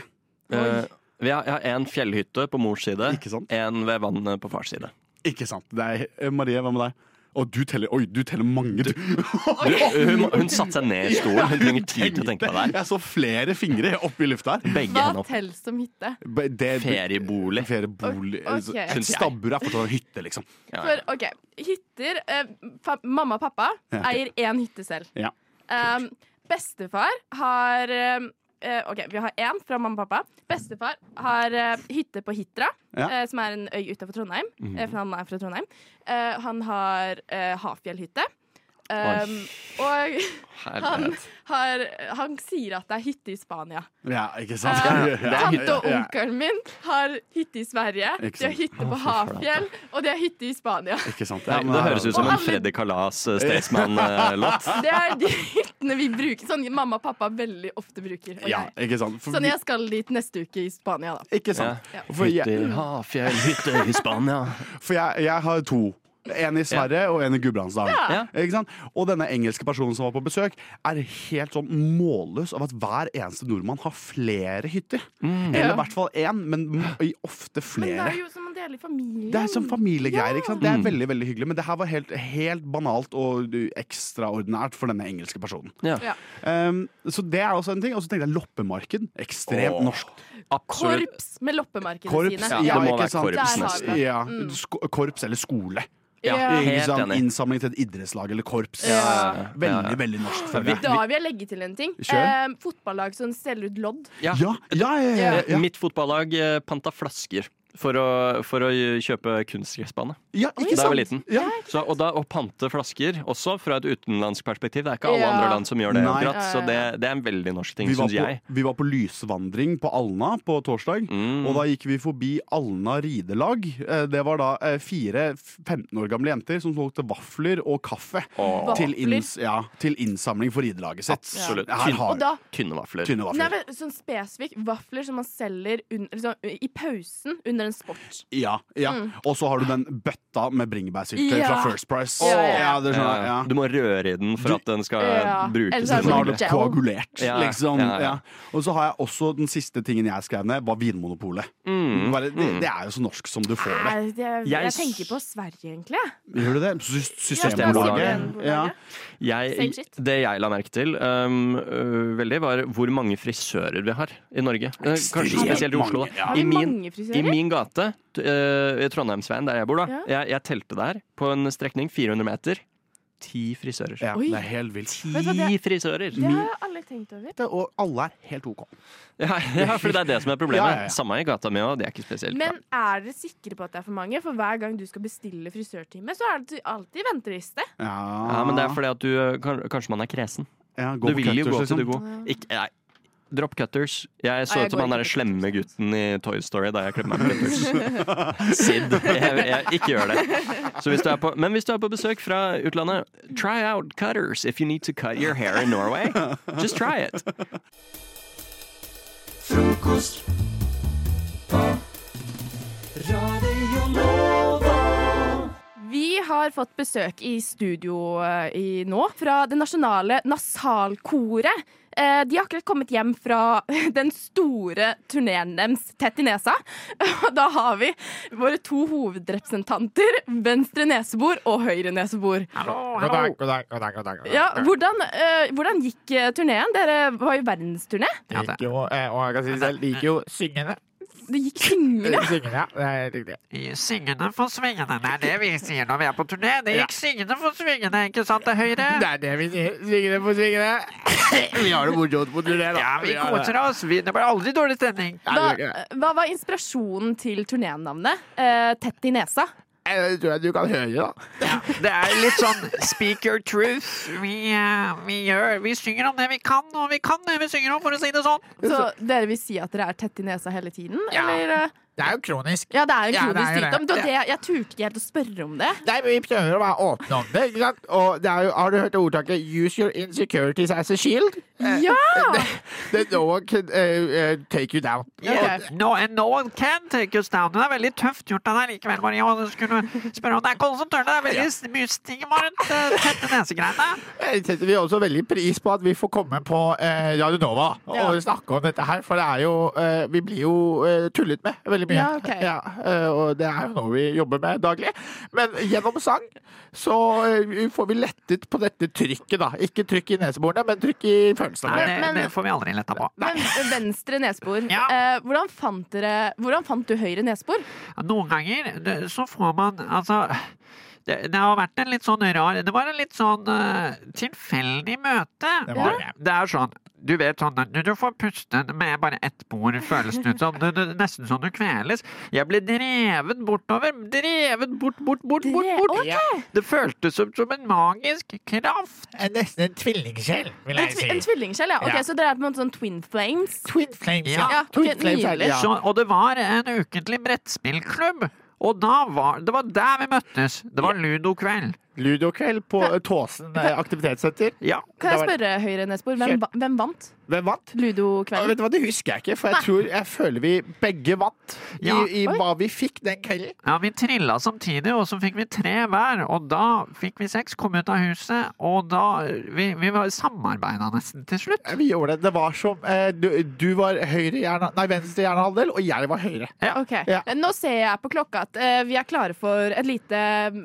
Eh, vi har, jeg har en fjellhytte på mors side, en ved vannet på fars side. Ikke sant. Det er, eh, Marie, hva med deg? Å, du teller, oi, du teller mange, du. Du, hun, hun satte seg ned i stolen. Hun trenger tid til å tenke på det. her. Jeg så flere fingre oppi lufta her. Begge Hva henne opp. telles som hytte? Be- det- Feriebolig. Feriebolig. Ok. Så- Et stabbur er fortsatt en hytte, liksom. For OK, hytter eh, fa Mamma og pappa Ja. eier én hytte selv. Ja. Um, bestefar har um, eh, OK, vi har én fra mamma og pappa. Bestefar har eh, hytte på Hitra, Ja. eh, som er en øy utenfor Trondheim. Mhm. eh, for han er fra Trondheim. Eh, han har eh, Hafjellhytte. Um, og han, Herlighet. har, han sier at det er hytte i Spania. Ja, ikke Eh, sant? Tante og onkelen min har hytte i Sverige, Ikke de har sant. hytte på Å, fy flate. Hafjell, og de har hytte i Spania. Ikke sant? Nei, det høres ut som Og en alle- Freddy eh, Kalas-Staysman-låt. Det er de hyttene vi bruker, sånn mamma og pappa veldig ofte bruker. Og Ja, jeg. ikke sant? For Sånn vi- jeg skal dit neste uke i Spania, da. Ikke sant? Ja. For jeg- Hytte i Hafjell, hytte i Spania. For jeg, jeg har to. En i Sverige og en i Gudbrandsdalen. Ja. Ikke sant? Og denne engelske personen som var på besøk, er helt sånn målløs av at hver eneste nordmann har flere hytter. Eller Mm. Ja. i hvert fall én, men i ofte Men det flere. er jo som en del i familien. Det er sånn familiegreier. ikke sant? Det Mm. er veldig veldig hyggelig. Men det her var helt, helt banalt og uh, ekstraordinært for denne engelske personen. Ja. Ja. Um, så det er også en ting. Og så tenkte jeg loppemarked. Ekstremt Åh, norsk. Korps med loppemarkedene Korps, sine. ja, Det må ikke være sant? korps Der har vi det. Ja. Mm. Sk- Korps eller skole. Ja, Ikke helt sant? enig. Innsamling til et idrettslag eller korps. Ja, ja, ja. Veldig, veldig norsk. føler jeg. Da vil jeg legge til en ting. Eh, Kjør. fotballag som selger ut lodd. Ja. ja, ja. Mitt fotballag eh, panta flasker for å, for å kjøpe kunstgressbane. Ja, ikke da jeg var liten. sant? Ja. Så, og da å pante flasker også fra et utenlandsk perspektiv. Det er ikke alle Ja. andre land som gjør det. Nei. akkurat, Så Ja, ja, det, ja. det er en veldig norsk ting, vi var, syns jeg. på, vi var på lysvandring på Alna på torsdag. Mm. Og da gikk vi forbi Alna ridelag. Eh, Det var da eh, fire 15 år gamle jenter som solgte vafler og kaffe Åh. til, inns, Vafler? ja, til innsamling for ridelaget sitt. Absolutt. Her har Og da- Tynne vafler. Tynne Nei, vafler. men sånn spesifikk vafler som man selger un- liksom, i pausen under en sport. Ja, ja. Mm. Og så har du den bøtta med bringebærsyltetøy Ja. fra First Price. Ja, ja, ja. det skjønner jeg. Ja. Du må røre i den for at den skal Ja. brukes. Ellers er det i Nå har Norge. du koagulert, Ja, liksom. ja, ja. Ja. Og så har jeg også den siste tingen jeg skrev ned, var Vinmonopolet. Mm. Bare, det, Mm. det er jo så norsk som du får det. Nei, det, jeg, Jeg s- tenker på Sverige, egentlig. Gjør du det? Sys Systembolaget. Systembolaget. Ja. Jeg, Same shit. det jeg la merke til um, øh, veldig, var hvor mange frisører vi har i Norge. Eh, Kanskje Ekstremt spesielt i Oslo. mange, Da. ja. Har vi I, min, mange frisører? I min gate, t- eh, i Trondheimsveien, der jeg bor, da. Jeg, jeg telte der på en strekning 400 meter. Ti frisører. Oi. det er helt vilt. Ti Vet du hva, det- frisører! Det har jeg aldri tenkt over. og alle er helt OK. Ja, ja, for det er det som er problemet. Ja, ja, ja. Samme i gata mi òg, det er ikke spesielt. bra. Men er dere sikre på at det er for mange? For hver gang du skal bestille frisørtime, så er det alltid venteliste. Ja, men det er fordi at du eh, kan- Kanskje man er kresen. Ja, gå Du på vil jo cutters, gå til du liksom. går. Ikke, nei. Drop cutters. Jeg Nei, så jeg ut som går han ikke derre på liksom. slemme gutten i Toy Story da jeg klemte meg med cutters. Sid. Jeg, jeg, ikke gjør det. Så hvis du er på, men hvis du er på besøk fra utlandet, try out cutters if you need to cut your hair in Norway. Just try it. Frokost på Radio Nova. Vi har fått besøk i studio eh, i nå fra det nasjonale nasalkoret. Eh, De har akkurat kommet hjem fra den store turneen deres, Tett i nesa. Og da har vi våre to hovedrepresentanter, venstre nesebor og høyre nesebor. God dag, god dag, god dag. god dag, god dag. Ja, hvordan, eh, hvordan gikk eh, turneen? Dere var jo verdensturné. Jeg liker jo, eh, og jeg kan si det selv, liker jo syngende. Eh, Det gikk syngende. Syngende, ja. Det er helt riktig. Syngende for svingende, det er det vi sier når vi er på turné. Det Ja. gikk syngende for svingende, ikke sant, det høyre? Det er det vi sier. Syngende for svingende. Vi har det morsomt på turné, da. Ja, vi koser oss. Vi, det blir aldri dårlig stemning. Hva, hva var inspirasjonen til turnénavnet? Eh, Tett i nesa. Det tror jeg du kan høre, da. Det er litt sånn speak your truth. Vi, eh, vi, gjør, vi synger om det vi kan, og vi kan det vi synger om, for å si det sånn. Så dere vil si at dere er tett i nesa hele tiden? Ja. Eller? eh? Det er jo kronisk. Ja, det er en Ja, det kronisk er jo det. sykdom. Det var Det- det, jeg turte ikke helt å spørre om det. Nei, men Vi prøver å være åpne om det. ikke sant? Og det er jo, Har du hørt ordtaket 'use your insecurities as a shield'? Eh, Ja! That no one can eh, eh, take you down. Og No, and no one can take us down. Det er veldig tøft gjort av deg likevel, Maria. Og du skulle spørre om det er ikke alle som tør det. Det er veldig s- mye stigma rundt eh, tette nesegreiene. Jeg setter vi også veldig pris på at vi får komme på eh, Radio Nova og Ja. snakke om dette her, for det er jo eh, Vi blir jo eh, tullet med veldig mye. Ja, ok. eh, og det er jo noe vi jobber med daglig. Men gjennom sang så eh, får vi lettet på dette trykket, da. Ikke trykk i neseborene, men trykk i følelsene. Nei, det, Men- det får vi aldri letta på. Men venstre nesebor, eh, hvordan, fant dere, hvordan fant du høyre nesebor? Noen ganger det- så får man Altså det, det har vært en litt sånn rar Det var en litt sånn eh, tilfeldig møte. Det var er sånn Du vet sånn du, du får puste med bare ett bord, føles det ut som. Du, du, nesten sånn du kveles. Jeg ble drevet bortover. Drevet bort, bort, bort, bort. bort. ok. Det føltes som, som en magisk kraft. Nesten en tvillingsjel, En, tvi en tvillingskjell, ja. Ok, Ja. Så dere er på en måte sånn twin flames? Twin flames, ja. ok, nydelig. Så, og det var en ukentlig brettspillklubb. Og da var, det var der vi møttes. Det var ludokveld. Ludokveld på eh, Tåsen eh, aktivitetssenter. Kan jeg Det var- spørre, Høyre Nesbor, hvem, ba- hvem vant? Hvem vant? Ludokvelden. Ja, vet du hva, det husker jeg ikke, for jeg, tror, jeg føler vi begge vant i, Ja. i hva vi fikk den kvelden. Ja, vi trilla samtidig, og så fikk vi tre hver. Og da fikk vi seks, kom ut av huset, og da Vi, vi var samarbeida nesten til slutt. Ja, Eh, Vi gjorde det. Det var som eh, du, du var høyre hjerne, nei, venstre hjernehalvdel, og jeg var høyre. Ok. Eh, Nå ser jeg på klokka at eh, vi er klare for et lite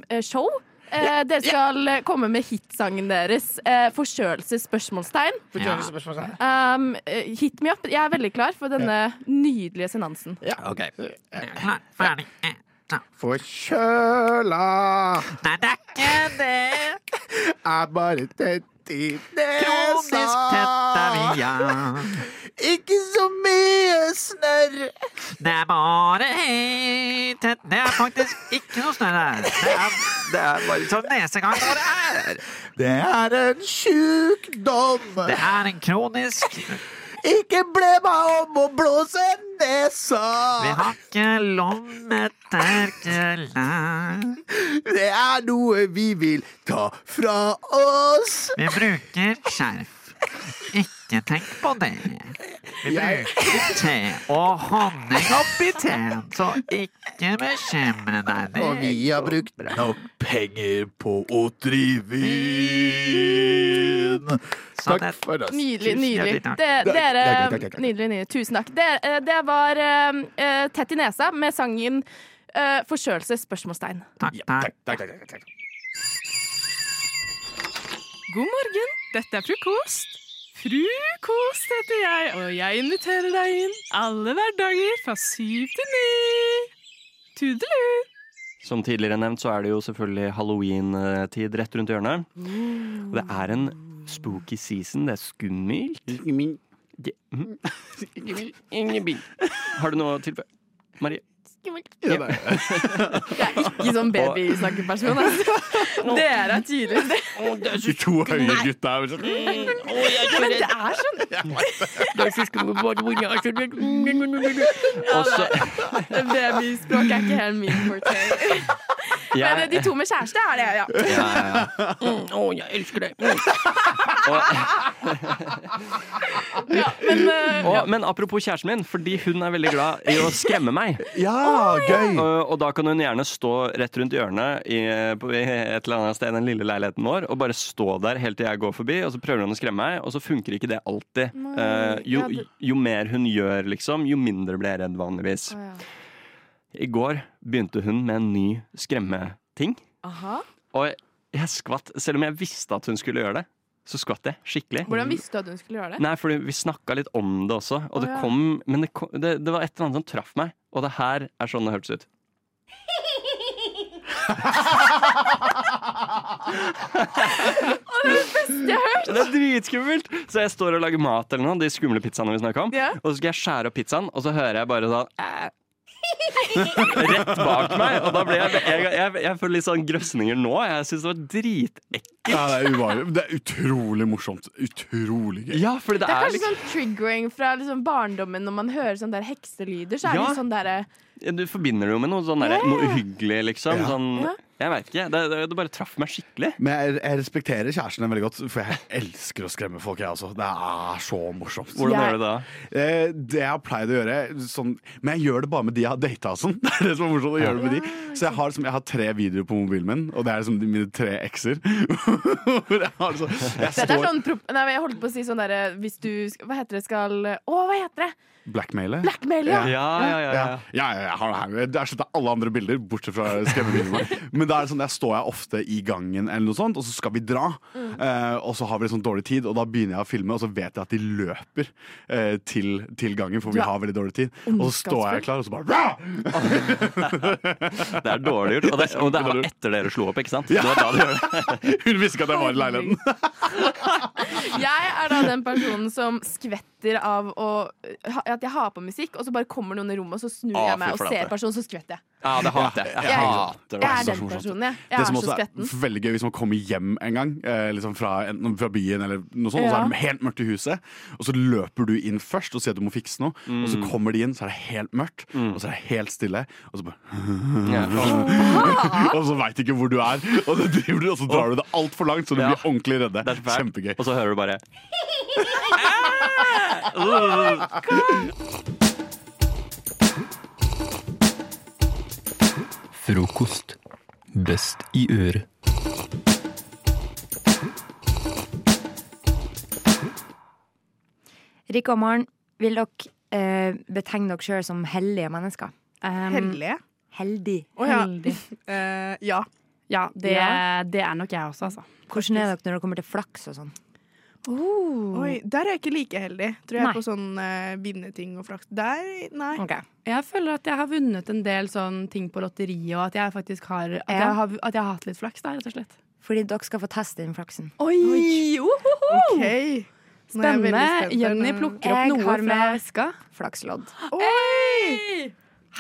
eh, show. Eh, dere skal eh, komme med hitsangen deres. Uh, Forkjølelsesspørsmålstegn. Forkjølelsesspørsmålstegn. Um, eh, hit me up. Jeg er veldig klar for denne nydelige senansen. OK. Eh, Klar, ferdig. Eh, Forkjøla Nei, det er ikke det. er bare tett i Kronisk tett er vi, nesa. ja. Ikke så mye snørr. Det er bare helt tett Det er faktisk ikke noe snø der. Det er, det er bare sånn nesegang hvor det er. Det er en sjukdom. Det er en kronisk Ikke ble meg om å blåse nesa. Vi har ikke lommeterkelær. Det er noe vi vil ta fra oss. Vi bruker skjerf. Ikke tenk på det. Vi Jeg- bruker te og honning oppi teen, så ikke bekymre deg. Det Og vi har brukt nok penger på å drive inn. Takk for oss. Nydelig. Tusen nydelig hjertelig takk. det, Takk, Dere takk, takk, takk, takk. Nydelig, nydelig. Tusen takk. Det, eh, det var eh, eh, Tett i nesa med sangen uh, 'Forkjølelse?' spørsmålstegn. Takk, takk, takk, takk, takk. God morgen, dette er frokost. Frukost heter jeg, og jeg inviterer deg inn alle hverdager fra syv til ni. Tudelu! Som tidligere nevnt så er det jo selvfølgelig halloween-tid rett rundt hjørnet. Og det er en spooky season. Det er skummelt. Det- mhm. Har du noe å tilføye? Marie? Ja. Ikke sånn babysnakkeperson. Altså. Dere er tydelige. De to høye gutta er sånn Men det er sånn Og så Babyspråk er ikke helt min forte. Men eh, de to med kjæreste er det, ja. Mm. Ja, ja, ja. jeg elsker deg. eh, og, men apropos kjæresten min, fordi hun er veldig glad i å skremme meg. Ja, gøy! Og, og da kan hun gjerne stå rett rundt hjørnet i, på et eller annet sted i den lille leiligheten vår og bare stå der helt til jeg går forbi, og så prøver hun å skremme meg, og så funker ikke det alltid. Eh, jo, jo mer hun gjør, liksom, jo mindre blir jeg redd vanligvis. I går begynte hun med en ny skremmeting. Aha. Og jeg skvatt, selv om jeg visste at hun skulle gjøre det, så skvatt jeg skikkelig. Hvordan visste du at hun skulle gjøre det? Nei, fordi vi snakka litt om det også, og det Å, ja. kom Men det, kom, det, det var et eller annet som traff meg, og det her er sånn det hørtes ut. Å, det er det beste jeg har hørt! Det er dritskummelt! Så jeg står og lager mat eller noe, de skumle pizzaene vi snakka om, Ja. og så skal jeg skjære opp pizzaen, og så hører jeg bare sånn "Æ", Rett bak meg, og da blir jeg Jeg, jeg, jeg får litt sånn grøsninger nå. Jeg syns det var dritekkelt. Ja, det, er uvanlig. det er utrolig morsomt. Utrolig gøy. Ja, fordi Det er kanskje sånn triggering fra liksom barndommen når man hører sånne der hekselyder. Så er Ja. det sånn derre Du forbinder det jo med noe, sånn derre- noe uhyggelig, liksom. Ja. Sånn, Ja. jeg vet ikke. Det, det, det bare traff meg skikkelig. Men jeg, jeg respekterer kjæresten din veldig godt, for jeg elsker å skremme folk. Jeg, også. Det er så morsomt. Hvordan gjør du det? da? Eh, Det jeg har pleid å gjøre, sånn, men jeg gjør det bare med de jeg har data. og Sånn. Det er det som er morsomt å gjøre det med de. Så jeg har, liksom, jeg har tre videoer på mobilen min, og det er liksom de- mine tre ekser. Hvor jeg har sånn- jeg Dette er står- sånn prop... Nei, men jeg holdt på å si sånn derre hvis du sk- Hva heter det skal Å, hva heter det? Blackmaile? Blackmaile, ja. Ja, ja, ja, ja. Ja, ja, jeg har det her. Det er slett alle andre bilder, bortsett fra skremmebildene. Men da er det sånn, der står jeg ofte i gangen, eller noe sånt, og så skal vi dra. Mm. Eh, og så har vi litt sånn dårlig tid, og da begynner jeg å filme, og så vet jeg at de løper eh, til, til gangen, for Du er vi har veldig dårlig tid. Og så står ondskapsfull. jeg klar, og så bare Rah! Det er dårlig gjort. Og det, og det var etter dere slo opp, ikke sant? Det var da du gjør det. Hun visste ikke at jeg var i leiligheten. Jeg er da den personen som skvetter av å, at jeg har på musikk, og så bare kommer noen i rommet, og så snur Å, jeg meg fy og flate. ser personen, så skvetter jeg. Ja, det hater jeg. Jeg Jeg- hater jeg er det. den personen, jeg. Jeg det er som så også skvetten. er veldig gøy hvis man kommer hjem en gang, eh, liksom fra, enten fra byen eller noe sånt, og så Ja. er det helt mørkt i huset, og så løper du inn først og sier at du må fikse noe, og Mm. så kommer de inn, så er det helt mørkt, og så er det helt stille, og så bare Og så veit du ikke hvor du er, og så, driver du, og så drar du det altfor langt, så du blir ordentlig redde. Kjempegøy. Og så hører du bare Frokost. Best i øret. Rikke og Maren, vil dere eh, betegne dere sjøl som heldige mennesker? Um, Hellige? Heldig. Å ja. Heldig. Eh, ja. Ja, det, Ja. det er nok jeg også, altså. Hvordan er dere når det kommer til flaks og sånn? Oi, der er jeg ikke like heldig, tror jeg, Nei. på sånn eh, vinneting og flaks. Der, nei. Jeg føler at jeg har vunnet en del sånn ting på lotteriet, og at jeg faktisk har At, Ja. jeg, har, at jeg har hatt litt flaks der, rett og slett. Fordi dere skal få teste den flaksen. Oi! Ok. Nå er jeg veldig spent her. Jenny plukker opp noe fra veska. Flakslodd. Oi!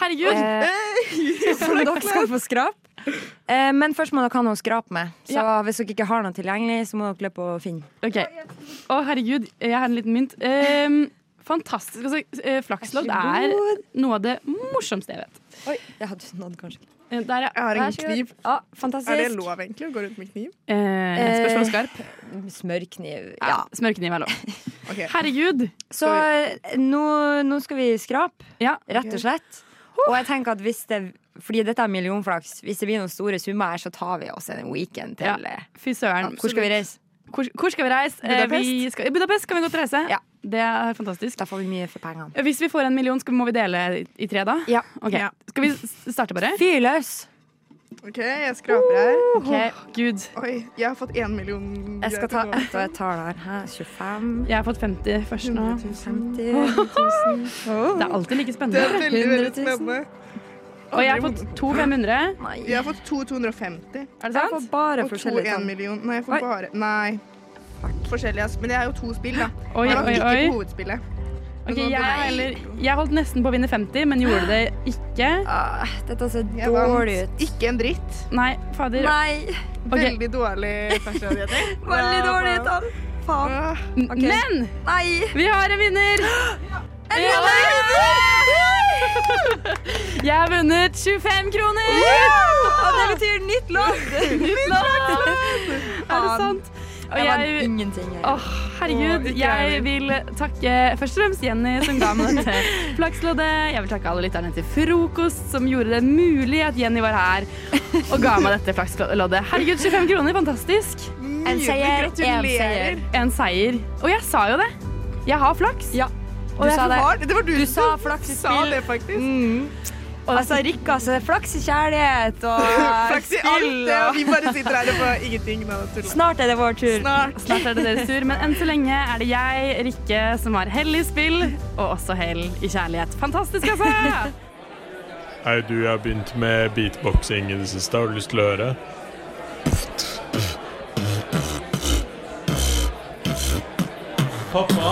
Herregud! Som dere skal få skrap. Eh, men først må dere ha noe å skrape med. Så hvis dere ikke har noe tilgjengelig, så må dere løpe og finne. Ok. Å, herregud, jeg har en liten mynt. Ehm, fantastisk. Altså, eh, flakslodd Vær så er noe av det morsomste jeg vet. Oi, jeg hadde nådd kanskje. Eh, Der, ja. Jeg har Vær en så god. kniv. Ja, fantastisk. Er det lov egentlig å gå rundt med kniv? Eh, spørsmål skarp. Smørkniv. Ja. Smørkniv er lov. Herregud. Så eh, nå, nå skal vi skrape, rett og slett. Og jeg tenker at hvis det fordi dette er millionflaks. Hvis det blir noen store summer her, så tar vi oss en weekend til eh, Fy søren. Hvor skal vi reise? Hvor, hvor skal vi reise? Eh, Vi Budapest? skal, Budapest kan vi godt reise. Det er fantastisk. Eh, Da får vi mye for pengene. Hvis vi får en million, skal, må vi dele i- i tre da? Ja. Ok. Skal vi s- starte bare? Fyr løs! OK, jeg skraper her. Ok, Gud. Oi, jeg har fått én million. Jeg skal ta ett og greier et tall her. Hæ, 25 Jeg har fått 50 først nå. 50 Det er alltid like til å gå. spennende. Det er veldig, veldig 100 000. spennende. Og jeg har fått to 500. Jeg har fått to Er 250. det sant? Jeg får bare og to forskjellige tall. 1 million. Nei, jeg får bare Nei. Forskjellige, ass. Men det er jo to spill, da. Oi, jeg var oi, ikke oi. på hovedspillet. Men Ok, nå jeg, ble det- eller, jeg holdt nesten på å vinne 50, men gjorde det ikke. Ah, Dette ser Jeg vant. dårlig ut. Ikke en dritt. Nei, fader. Nei. Ok. Veldig dårlig personlighet. Veldig dårlig tall. N- Men vi har en vinner! Ja! Jeg har vunnet 25 kroner! Og det betyr nytt lodd! Nytt lodd! Er det sant? Og Jeg jeg- vant ingenting. jeg. Åh, herregud, Åh, ikke jeg jeg vil takke først og fremst Jenny som ga meg dette flaksloddet. Jeg vil takke alle lytterne til frokost som gjorde det mulig at Jenny var her og ga meg dette flaksloddet. Herregud, 25 kroner, fantastisk. En seier, en seier. En seier. Og jeg sa jo det. Jeg har flaks. Du Og jeg sa det. har- Det var du, Du sa som flaks i sa spill. det, faktisk. Mm. Altså, Rikke, altså, det er flaks i kjærlighet og Flaks i alt spill det, og- og vi bare sitter her og får ingenting. Nå, tuller. Snart er det vår tur. Snart. Snart er det deres tur, men enn så lenge er det jeg, Rikke, som har hell i spill, og også hell i kjærlighet. Fantastisk, altså! Hei, du, jeg har begynt med beatboxing i det siste. Har du lyst til å høre? Pappa?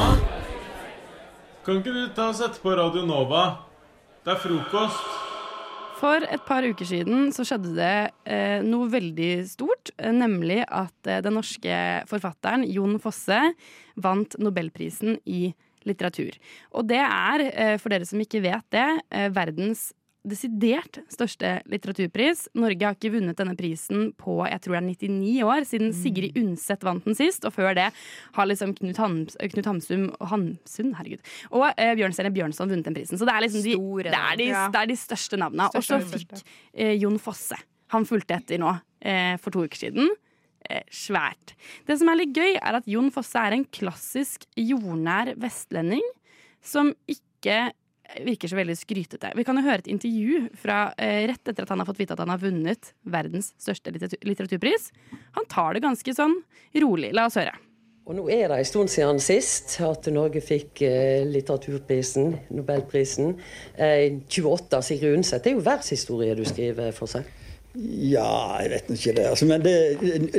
Kan ikke du ta og sette på Radio Nova? Det er frokost. For et par uker siden så skjedde det eh, noe veldig stort, eh, nemlig at eh, den norske forfatteren Jon Fosse vant Nobelprisen i litteratur. Og det er, eh, for dere som ikke vet det, eh, verdens desidert største litteraturpris. Norge har ikke vunnet denne prisen på jeg tror det er 99 år, siden Mm. Sigrid Undset vant den sist. Og før det har liksom Knut, Hams, Knut Hamsun og Hamsun, herregud, og eh, Bjørnstjerne Bjørnson vunnet den prisen. Så det er liksom de, Store det er de, navn. det er de største navna. Og så Største navn. fikk eh, Jon Fosse. Han fulgte etter nå eh, for to uker siden. Eh, svært. Det som er litt gøy, er at Jon Fosse er en klassisk jordnær vestlending som ikke ikke virker så veldig skrytete. Vi kan jo høre et intervju fra eh, rett etter at han har fått vite at han har vunnet verdens største litteratur litteraturpris. Han tar det ganske sånn rolig. La oss høre. Og nå er det en stund siden sist at Norge fikk eh, litteraturprisen, Nobelprisen. Eh, 28 Sigrid Undset. Det er jo verdenshistorie du skriver for seg. Ja, jeg vet nå ikke det. Altså, men det,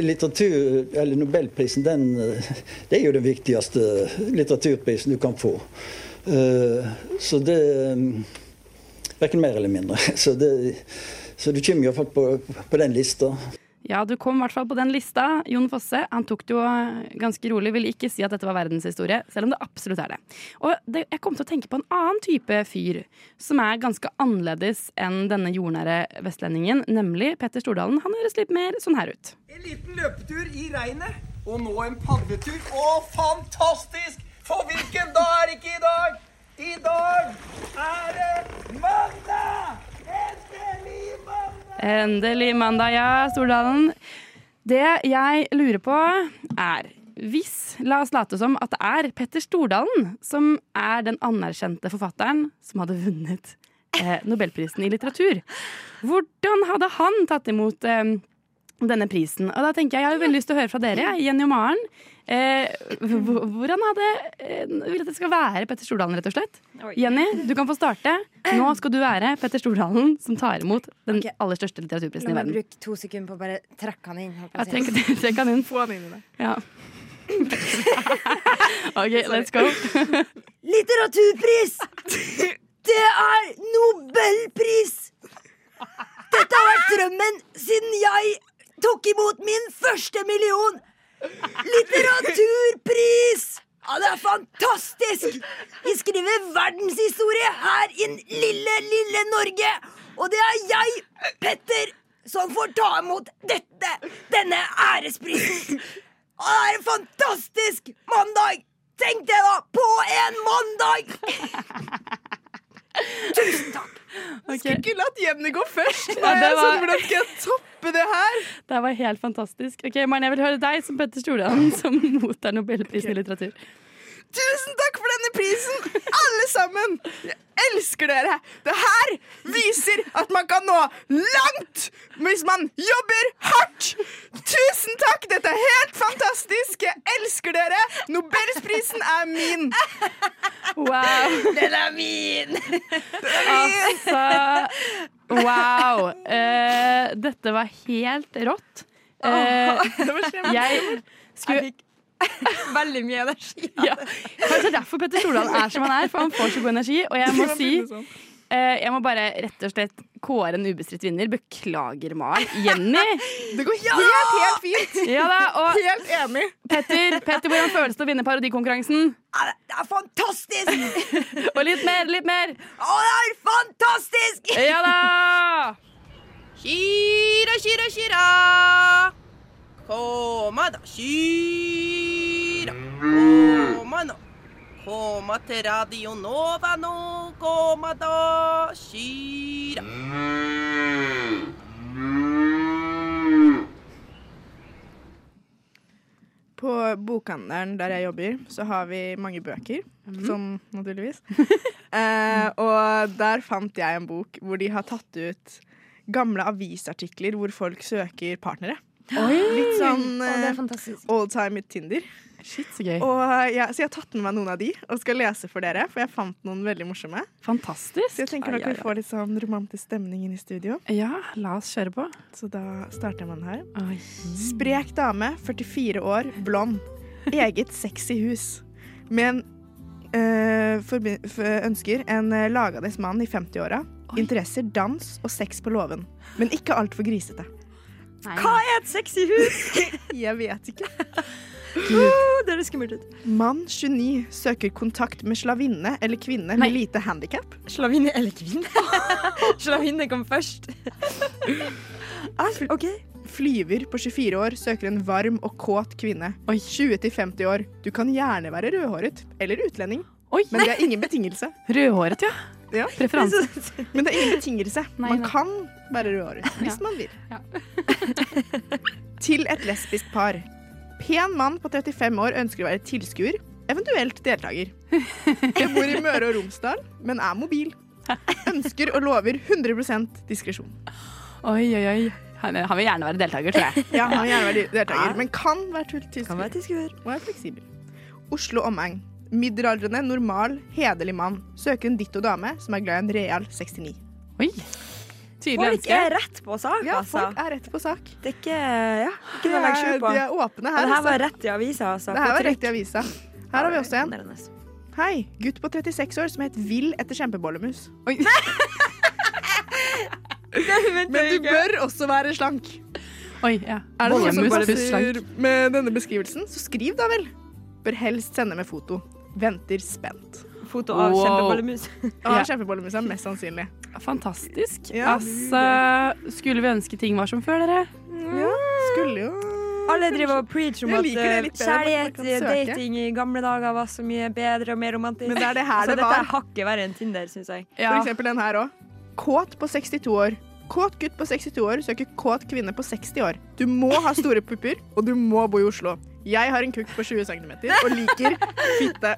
litteratur, eller Nobelprisen, den, eh, det er jo den viktigste litteraturprisen du kan få. Eh, så det mm, Verken mer eller mindre. Så, det, så du kommer iallfall på, på den lista. Ja, du kom i hvert fall på den lista. Jon Fosse han tok det jo eh, ganske rolig. Ville ikke si at dette var verdenshistorie, selv om det absolutt er det. Og det, jeg kom til å tenke på en annen type fyr som er ganske annerledes enn denne jordnære vestlendingen, nemlig Petter Stordalen. Han høres litt mer sånn her ut. En liten løpetur i regnet, og nå en padletur. Å, fantastisk! For hvilken dag er ikke i dag? I dag er det mandag! Endelig mandag! Endelig mandag, ja, Stordalen. Det jeg lurer på er hvis, la oss late som at det er Petter Stordalen som er den anerkjente forfatteren som hadde vunnet eh, Nobelprisen i litteratur. Hvordan hadde han tatt imot eh, denne prisen? Og da tenker jeg, jeg har jo veldig lyst til å høre fra dere, jeg, Jenny og Maren. Eh, hvor- hvordan hadde eh, vil at det skal være Petter Stordalen, rett og slett? Oi. Jenny, du kan få starte. Nå skal du være Petter Stordalen som tar imot den aller største litteraturprisen Nå må i jeg verden. bruke to sekunder på å bare trekke han inn. holdt jeg på Ja, å trekk, si. trekk han inn. Ja. OK, let's go. Litteraturpris! Det er Nobelpris! Dette har vært drømmen siden jeg tok imot min første million! Litteraturpris! Ja, det er fantastisk! Vi skriver verdenshistorie her i lille, lille Norge. Og det er jeg, Petter, som får ta imot dette, denne æresprisen. Og det er en fantastisk mandag! Tenk det, da! På en mandag! Tusen takk. Skulle latt Jenny gå først. Ja, Da er det jeg var- sånn, Hvordan skal jeg toppe det her? Det var helt fantastisk. Ok, Maren, jeg vil høre deg som Petter Stordalen som mottar Nobelprisen i litteratur. Tusen takk for denne prisen, alle sammen! Jeg elsker dere! Det her viser at man kan nå langt hvis man jobber hardt! Tusen takk! Dette er helt fantastisk! Jeg elsker dere! Nobelsprisen er min! Wow. Den er min! Altså, wow. Eh, dette var helt rått. Eh, jeg skulle Veldig mye energi. ja. Kanskje derfor Petter Stordalen er som han er, for han får så god energi. Og jeg må si eh, Jeg må bare rett og slett kåre en ubestridt vinner. Beklager, Maren. Jenny! Det går helt, helt fint. Ja da, og Helt enig. Petter, Petter, hvordan føles det å vinne parodikonkurransen? Det er fantastisk! Og litt mer, litt mer. Å, det er fantastisk! Ja da! Kira, kira, kira. Koma da, kira. Koma nå. Koma til Radio Nova nå. Koma da, kira. På bokhandelen der jeg jobber, så har vi mange bøker. Sånn naturligvis. eh, og der fant jeg en bok hvor de har tatt ut gamle avisartikler hvor folk søker partnere. Oi! Litt sånn Å, det er eh, old time with Tinder. Shit, så gøy. Og jeg, så jeg har tatt med meg noen av de og skal lese for dere, for jeg fant noen veldig morsomme. Fantastisk. Så jeg tenker Ai, nok ai, vi får litt sånn romantisk stemning inn i studio. Ja, la oss kjøre på. Så da starter man her. Sprek dame, 44 år, blond. Eget sexy hus. Med en øh, forbi- f- ønsker en øh, lagades mann i 50-åra. Interesser dans og sex på låven. Men ikke altfor grisete. Hva er et sexy hus? Jeg vet ikke. Åh, Det høres skummelt ut. Mann 29 søker kontakt med slavinne eller kvinne med lite handikap. Slavinne eller kvinne? Slavinne kom først. Ah, Flyver på 24 år søker en varm og kåt kvinne. 20-50 år. Du kan gjerne være rødhåret eller utlending, men det er ingen betingelse. Rødhåret, ja. Ja. Preferanse. Men det er ingen betingelse. Man kan være rødhåret hvis Ja. man vil. Til et lesbisk par. Pen mann på 35 år ønsker å være tilskuer. Eventuelt deltaker. Jeg bor i Møre og Romsdal, men er mobil. Ønsker og lover 100 diskresjon. Oi, oi, oi. Han, han vil gjerne være deltaker, tror jeg. Ja, han vil gjerne være deltaker, men kan være tull- Kan være tilskuer. Og er fleksibel. Oslo omegn. Middelaldrende, normal, hederlig mann. Søker en ditto dame som er glad i en real 69. Oi. Folk er rett på sak, Ja, altså. folk er rett på sak. Det er ikke, ja, ikke noe å legge skjul på. Eh, De er åpne her. Og det her var altså. rett i avisa, altså. Det her På var trykk. rett i avisa. Her har vi også en. Hei, gutt på 36 år som het Vill etter kjempebollemus. Men du bør også være slank. Oi, ja. Er det noen som Bollemus bare pluss slank. sier med denne beskrivelsen, så skriv da vel. Bør helst sende med foto. Venter spent. Foto av Wow. kjempebollemus. Av Ja. kjempebollemus er mest sannsynlig. Fantastisk. Ja. Altså, skulle vi ønske ting var som før, dere? Ja, skulle jo Alle driver og preacher om Jeg at liker det litt eh, bedre, men kjærlighet, eh, man kan søke. dating i gamle dager var så mye bedre og mer romantisk. Men det er det her altså, det dette var. er hakket verre enn Tinder, syns jeg. For eksempel den her òg. Kåt på 62 år. Kåt gutt på 62 år søker kåt kvinne på 60 år. Du må ha store pupper, og du må bo i Oslo. Jeg har en kukk på 20 cm og liker fitte.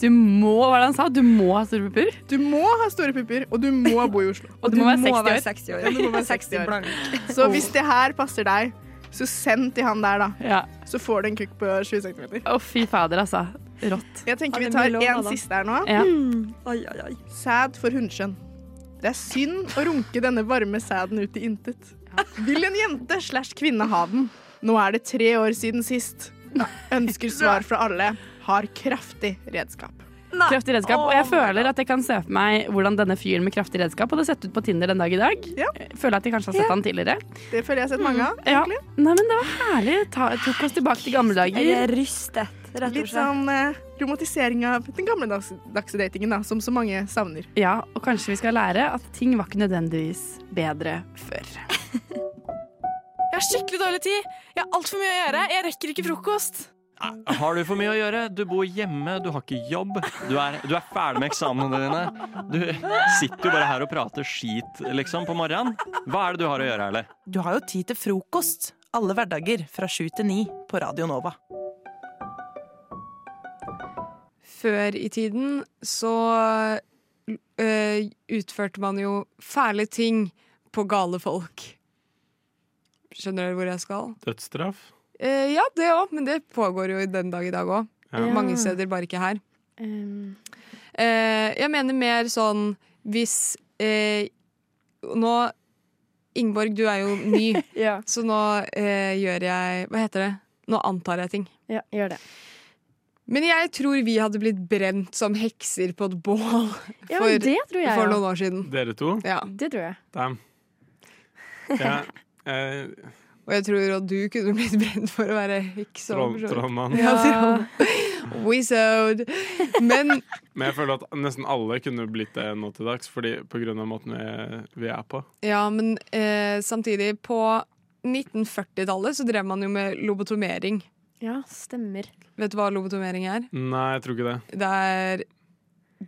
Du må, hva var det han sa? Du må ha store pupper? Du må ha store pupper, og du må bo i Oslo. Og du må være 60 år. Ja, du må være 60 60 år. blank. Så Oh. hvis det her passer deg, så send til han der, da. Ja. Så får du en kukk på 20 cm. Å, fy fader, altså. Rått. Jeg tenker vi Ja, det tar er mye lov, en da. siste her nå. Ja. Mm. Mm. Sæd for hundskjønn. Det er synd å runke denne varme sæden ut i intet. Vil en jente slash kvinne ha den? Nå er det tre år siden sist. Ønsker svar fra alle. Har kraftig redskap. Kraftig redskap. Og jeg føler at jeg kan se for meg hvordan denne fyren med kraftig redskap hadde sett ut på Tinder den dag i dag. Føler at jeg kanskje har sett Ja. han tidligere. Det føler jeg har sett mange Mm. av. Ja. Nei, men det var herlig. Ta, tok oss tilbake til gamle dager. Jeg er rystet, rett og slett. Litt sånn eh, romantisering av den gamle dags dagsedatingen, da, som så mange savner. Ja, og kanskje vi skal lære at ting var ikke nødvendigvis bedre før. Jeg har skikkelig dårlig tid. Jeg har altfor mye å gjøre. Jeg rekker ikke frokost. Har du for mye å gjøre? Du bor hjemme, du har ikke jobb. Du er, du er ferdig med eksamene dine. Du sitter jo bare her og prater skit, liksom, på morgenen. Hva er det du har å gjøre, Erle? Du har jo tid til frokost alle hverdager fra sju til ni på Radio Nova. Før i tiden så øh, utførte man jo fæle ting på gale folk. Skjønner dere hvor jeg skal? Dødsstraff? Eh, ja, det òg, men det pågår jo i den dag i dag òg. Ja. Mange Ja. steder, bare ikke her. Eh, jeg mener mer sånn hvis eh, Nå Ingeborg, du er jo ny, så nå eh, gjør jeg Hva heter det? Nå antar jeg ting. Ja, gjør det. Men jeg tror vi hadde blitt brent som hekser på et bål for, Ja, men det tror jeg for jo. noen år siden. Dere to? Ja. Det tror jeg. Damn. Ja, eh, Og jeg tror at du kunne blitt brent for å være heks. og for Troll- så vidt. trollmann. Ja, trollmann. Wizard. Men men jeg føler at nesten alle kunne blitt det nå til dags, fordi på grunn av måten vi, vi er på. Ja, men eh, samtidig, på 1940-tallet så drev man jo med lobotomering. Ja, stemmer. Vet du hva lobotomering er? Nei, jeg tror ikke det. Det er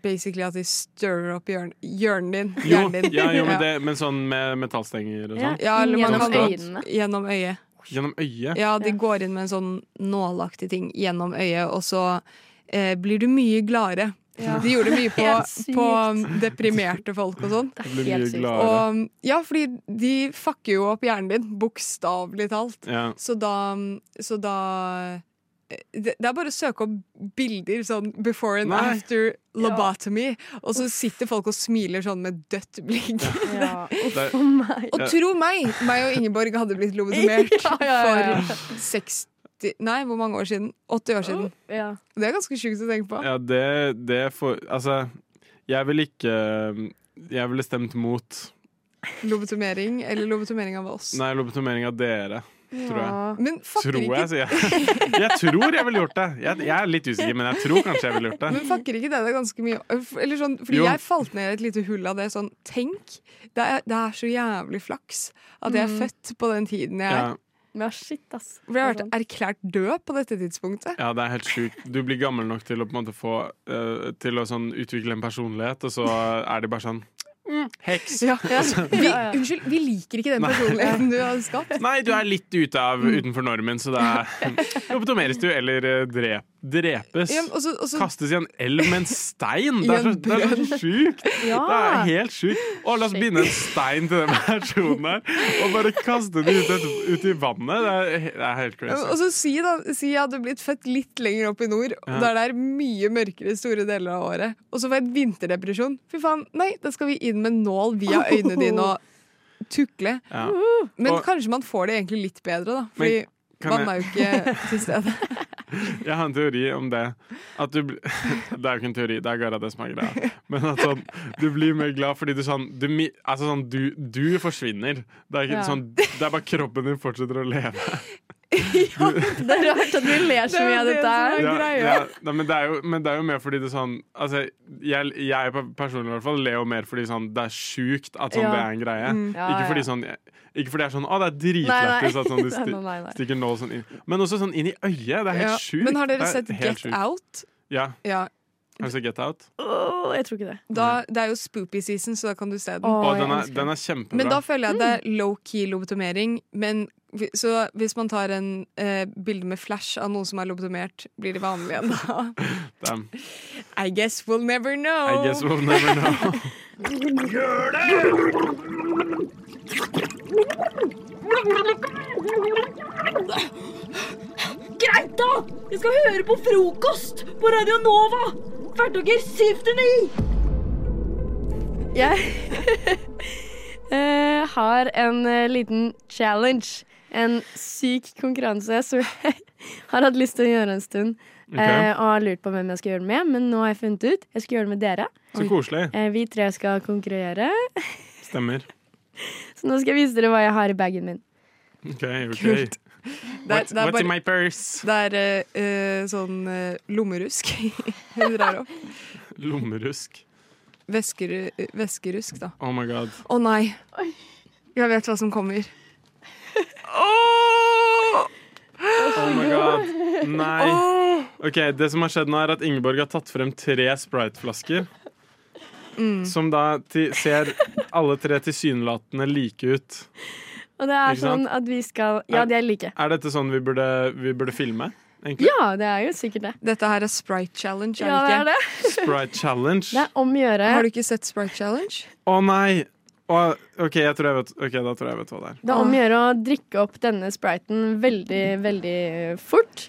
basically at de stirrer opp hjørn hjernen din. Jo, hjernen din. ja, jo men, Ja. det, men sånn med metallstenger og Ja, sånn? eller man Sånn kan støt. Gjennom øyet. Gjennom øyet? Ja, de går inn med en sånn nålaktig ting gjennom øyet, og så eh, blir du mye gladere. Ja. De gjorde det mye på, Helt sykt. på um, deprimerte folk og sånn. Det blir mye Helt sykt. gladere. Og, um, ja, fordi de fucker jo opp hjernen din, bokstavelig talt. Ja. Så da, um, så da eh, det, det er bare å søke opp bilder sånn before and Nei. after lobotomy, og så sitter folk og smiler sånn med dødt blikk. Det- Og tro meg, meg og Ingeborg hadde blitt lobotomert for 60 Nei, hvor mange år siden? 80 år siden. Det er ganske sjukt å tenke på. Ja, det, det får Altså, jeg ville ikke Jeg ville stemt mot Lobotomering, eller lobotomering av oss. Nei, lobotomering av dere, tror jeg. Men fucker tror jeg, ikke, sier jeg. Jeg tror jeg ville gjort det. Jeg, jeg er litt usikker, men jeg tror kanskje jeg ville gjort men det. fucker ikke det, det er ganske mye eller sånn, Fordi Jo. jeg falt ned i et lite hull av det. Sånn, tenk! Det er, det er så jævlig flaks at jeg er Mm. født på den tiden jeg Ja. er. For jeg har vært erklært død på dette tidspunktet. Ja, det er helt sjukt. Du blir gammel nok til å på en måte få eh, Til å sånn utvikle en personlighet, og så er de bare sånn Heks. Mm. Ja, ja. Vi, Ja, ja. unnskyld, vi liker ikke den Nei. personligheten du har skapt. Nei, du er litt ute av Mm. utenfor normen, så det er Lobotomeres du, eller eh, drep, drepes. Ja, men altså- også- også- Kastes i en elv med en stein! Det I er så, en det er så sjukt! Ja. Det er helt sjukt. Å, la oss binde en stein til den personen her, og bare kaste den ut, et, ut i vannet. Det er, he- det er helt Ja, men crazy. også si, da, si jeg hadde blitt født litt lenger opp i nord, og Ja. da er det her mye mørkere store deler av året. Og så får jeg et vinterdepresjon. Fy faen, nei, da skal vi inn med en nål via øynene dine og tukle. Ja. Men Og- kanskje man får det egentlig litt bedre, da. Fordi Men kan man er jo ikke til stede. Jeg har en teori om det. At du, bl- det er jo ikke en teori, det er Gara det som er greia. Men at sånn, du blir mer glad fordi du sånn Du, mi- altså sånn, du, du forsvinner. Det er, ikke, Ja. sånn, det er bare kroppen din fortsetter å leve. Det er rart at vi ler så mye av dette her. Ja, ja. Nei, men, det er jo, men det er jo mer fordi det sånn altså, jeg, jeg per- personlig i hvert fall ler jo mer fordi sånn, det er sjukt at sånn, Ja. det er en greie. Mm. Ja, ikke, ja. fordi, sånn, jeg- ikke fordi det er sånn Å, det er Nei, nei. dritlættis at sånn, du Nei, sti, nei, nei, nei. stikker nål sånn inn. Men også sånn inn i øyet. Det er helt Ja. sjukt. Men har Det dere er sett helt Get sjukt. Out? Ja. Ja. Har du sett Get Out? jeg tror ikke det. Da, det er jo spoopy season, så da kan du se den. Å, den, er, den er kjempebra. Men da føler jeg det er low-key lobotomering. Men vi- så hvis man tar en eh, bilde med flash av noen som er lobotomert, blir det vanlig igjen da? Damn. I guess we'll never know. I guess we'll never know. Gjør det! Greit, da! Jeg skal høre på frokost på Radio Nova! Hverdager 7 til 9! Jeg eh, har en eh, Mm, liten challenge. En syk konkurranse som jeg har hatt lyst til å gjøre en stund. Ok. eh, og har lurt på hvem jeg skal gjøre den med, men nå har jeg funnet ut. Jeg skal gjøre det med dere. Så koselig. Eh, vi tre skal konkurrere. Stemmer. Så nå skal jeg vise dere hva jeg har i bagen min. OK. ok Kult. What, what's in my purse? Det er eh, eh, sånn eh, lommerusk hun drar opp. Lommerusk. Væsker, eh, væskerusk, da. Oh my god. Å nei. Jeg vet hva som kommer. Oh my god. Nei. OK, det som har skjedd nå, er at Ingeborg har tatt frem tre Sprite-flasker. Mm. Som da til, ser alle tre tilsynelatende like ut. Og det er Ikke sånn sant? at vi skal Ja, de er like. Er dette sånn vi burde, vi burde filme? Egentlig? Ja, det er jo sikkert det. Dette her er Sprite Challenge, Ja, det er det. Sprite Challenge. Det er om å gjøre. Har du ikke sett Sprite Challenge? Å nei! Å, OK, jeg tror jeg vet, ok, da tror jeg vet hva det er. Det er om å gjøre å drikke opp denne spriten veldig, veldig fort.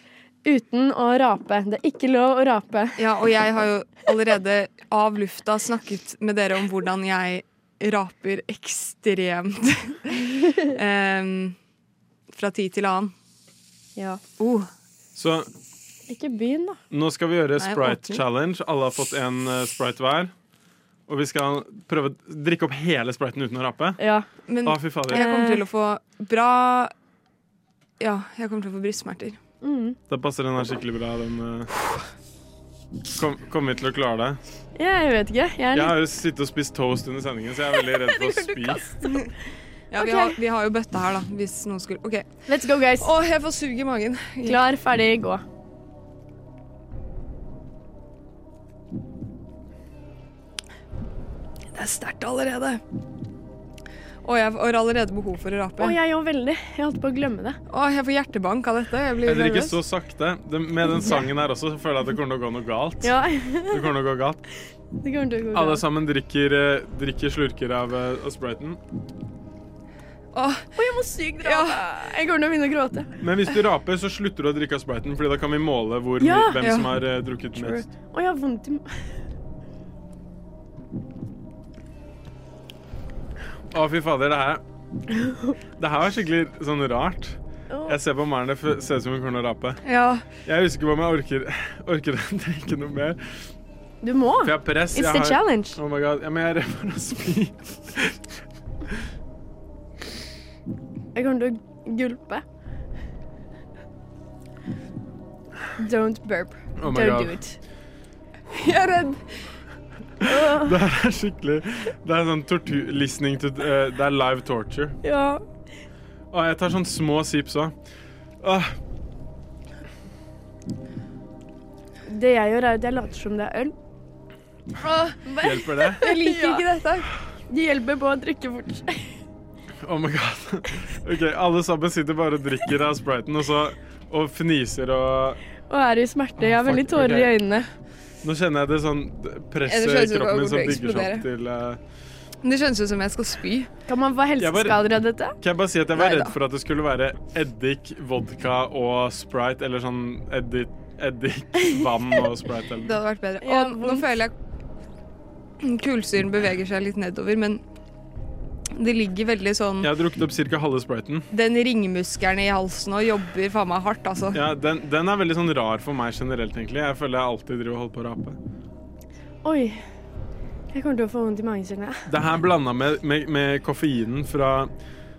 Uten å rape. Det er ikke lov å rape. Ja, og jeg har jo allerede av lufta snakket med dere om hvordan jeg raper ekstremt em, fra tid til annen. Ja. Oh, Så Ikke begynn, da. Nå skal vi gjøre Nei, Sprite åpner. Challenge. Alle har fått en eh, Sprite hver. Og vi skal prøve å drikke opp hele spriten uten å rape. Men Å, fy fader. jeg kommer Eh. til å få bra Ja, jeg kommer til å få brystsmerter. Mm. Da passer den her skikkelig bra. Den, eh. kom, kommer vi til å klare det? Jeg vet ikke. Jeg er Jeg har litt jo sittet og spist toast under sendingen, så jeg er veldig redd for å spy. Ja, vi, Ok. har, vi har jo bøtta her, da, hvis noen skulle OK. Let's go, guys. Å, jeg får sug i magen. klar, ferdig, gå. Det er sterkt allerede. Og jeg har allerede behov for å rape. Å, jeg òg veldig. Jeg holdt på å glemme det. Å, jeg får hjertebank av dette. Jeg blir Heller ikke nervøs. så sakte. Det- Med den sangen her også så føler jeg at det kommer til å gå noe galt. Ja. Det det kommer til å gå galt. kommer til å gå Alle bra. sammen drikker, eh, drikker slurker av, eh, av spriten. Å, jeg må sykt rape. Jeg kommer til å begynne å gråte. Men hvis du raper, så slutter du å drikke av spriten, Fordi da kan vi måle hvor, Ja. mye- hvem Ja. som har eh, drukket True. mest. Å, jeg har vondt i Å, fy fader, det her Det her var skikkelig sånn rart. Jeg ser på Maren, det f- ser ut som hun kommer til å rape. Ja. Jeg er usikker på om jeg orker, orker å drikke noe mer. Du må. For jeg har press. It's jeg the har, challenge. Oh my god. Ja, men jeg er redd for å spy. Jeg kommer til å gulpe. Don't burp. Oh my Don't God. do it. Jeg er redd. Åh, Det her er skikkelig Det er sånn tortur... Listening to eh, Det er live torture. ja. Å, jeg tar sånn små sips òg. Det jeg gjør, er at jeg later som det er øl. Hjelper det? Jeg liker ikke dette. Det hjelper på å drikke fort. Oh my god. Ok, Alle sammen sitter bare og drikker av spriten og, så, og fniser og Og er i smerte. Jeg har veldig fuck, tårer i ok. øynene. Nå kjenner jeg det sånn presset Ja, det i skjønnes jo kroppen bare min hvor som det bygger seg opp eksploderer. til eh, Men Det skjønnes ut som jeg skal spy. Kan man få helseskader av dette? Kan jeg bare si at jeg var Neida. redd for at det skulle være eddik, vodka og sprite, eller sånn eddik, eddik vann Mm, og Det sprite. Eller. hadde vært bedre. Og nå føler jeg kullsyren beveger seg litt nedover, men det ligger veldig sånn Jeg har drukket opp ca. halve spriten. Den ringmuskelen i halsen og jobber faen meg hardt, altså. Ja, den, den er veldig sånn rar for meg generelt, egentlig. Jeg føler jeg alltid driver og holder på å rape. Oi. Jeg kommer til å få vondt i magen, kjenner jeg. Det her blanda med, med, med koffeinen fra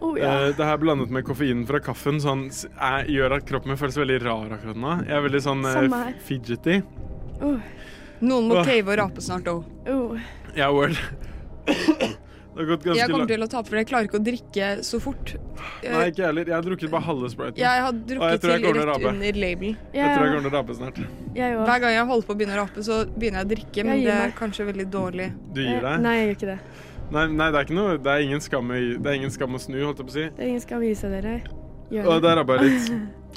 Oh, Å, Oh, ja. eh, det her blandet med koffeinen fra kaffen sånn, s- er, gjør at kroppen min føles veldig rar akkurat nå. Jeg er veldig sånn eh, Samme her. f- fidgety. Uh. Noen må Åh. cave og rape snart òg. Jeg er word. Det har gått ganske Jeg kommer langt. til å tape, for jeg klarer ikke å drikke så fort. Eh, Nei, ikke jeg heller. Jeg har drukket bare halve spriten. Jeg har Og jeg drukket tror jeg til kommer å rett rape. under label. Jeg tror jeg kommer til å rape snart. Hver gang jeg holder på å begynne å rape, så begynner jeg å drikke, men Jeg gir det er meg. Eh, kanskje veldig dårlig. Du gir deg? Nei, jeg gjør ikke det. Nei, nei, det er ikke noe Det er ingen skam, i- det er ingen skam å snu, holdt jeg på å si. Det er ingen skam i seg, dere. Gjør Og det. der rabba jeg litt.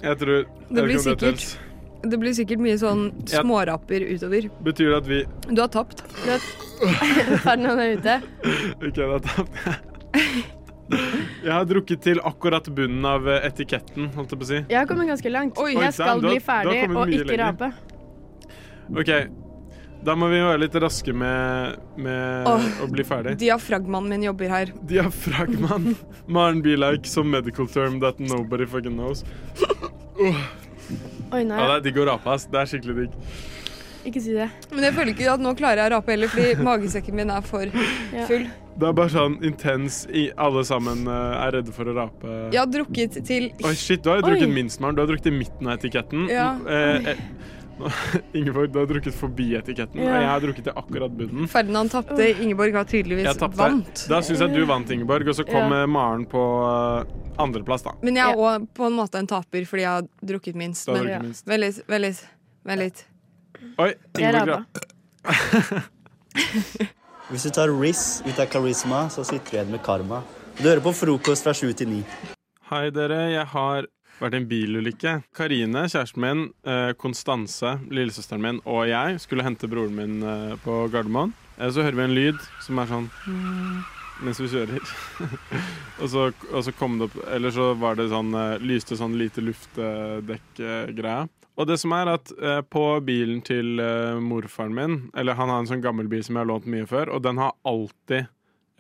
Jeg Det tror jeg blir vet ikke om sikkert, tels. det blir sikkert mye sånn Ja. småraper utover. Betyr det at vi Du har tapt. Ferdinand er ute. OK, da tapte jeg. Jeg har drukket til akkurat bunnen av eh, etiketten, holdt jeg på å si. Jeg har kommet ganske langt. Oi, jeg skal damn, du har- bli du har ferdig kommet og mye ikke lenger. rape. OK. Da må vi være litt raske med, med Åh, Eh, å bli ferdig. Diafragmaen min jobber her. Diafragmaen. Maren be like some medical term that nobody fucking knows. Oi, Ja, det nei. er digg å rape, ass. Det er skikkelig digg. Ikke si det. Men jeg føler ikke at nå klarer jeg å rape heller, fordi magesekken min er for full. Det er bare sånn intens i Alle sammen eh, er redde for å rape. Jeg har drukket til Oi, shit, du har jo drukket Oi. minst, Maren. Du har drukket i midten av etiketten. Ja. Eh, eh, Ingeborg, du har drukket forbi etiketten, Ja. og jeg har drukket til akkurat bunnen. Ferdinand tapte. Ingeborg har Jeg tydeligvis tapte. vant. Da syns jeg du vant, Ingeborg, og så kom Ja. eh, Maren på eh, andreplass, da. Men jeg er òg på en måte en taper fordi jeg har drukket minst. Du har Men drukket minst. vent litt, vent litt. Vent litt. Oi, Jeg Ingeborg rabba. Hvis du tar Riz ut av karisma, så sitter du igjen med karma. Du hører på frokost fra sju til ni. Hei, dere. Jeg har vært i en bilulykke. Karine, kjæresten min, eh, Konstanse, lillesøsteren min og jeg skulle hente broren min eh, på Gardermoen. Eh, Så hører vi en lyd som er sånn mens vi kjører. og, så, og så kom det opp Eller så var det sånn eh, lyste sånn lite luftdekk-greia. Og det som er at eh, på bilen til eh, morfaren min Eller han har en sånn gammel bil som jeg har lånt mye før, og den har alltid,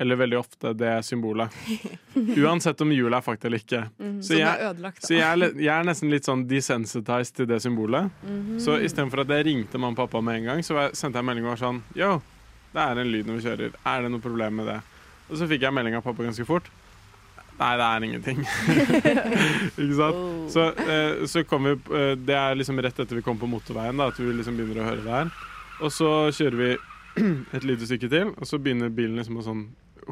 eller veldig ofte, det symbolet. Uansett om hjulet er fakta eller ikke. Mhm. Så Som jeg, er ødelagt, da. så jeg, er le- jeg er nesten litt sånn desensitized til det symbolet. Mhm. Så istedenfor at jeg ringte mamma og pappa med en gang, så var jeg- sendte jeg melding og var sånn Yo, det er en lyd når vi kjører. Er det noe problem med det? Og så fikk jeg melding av pappa ganske fort. Nei, det er ingenting. ikke sant? Oh. Så, eh, så kom vi eh, Det er liksom rett etter vi kom på motorveien, da, at vi liksom begynner å høre det her. Og så kjører vi et lite stykke til, og så begynner bilen liksom å sånn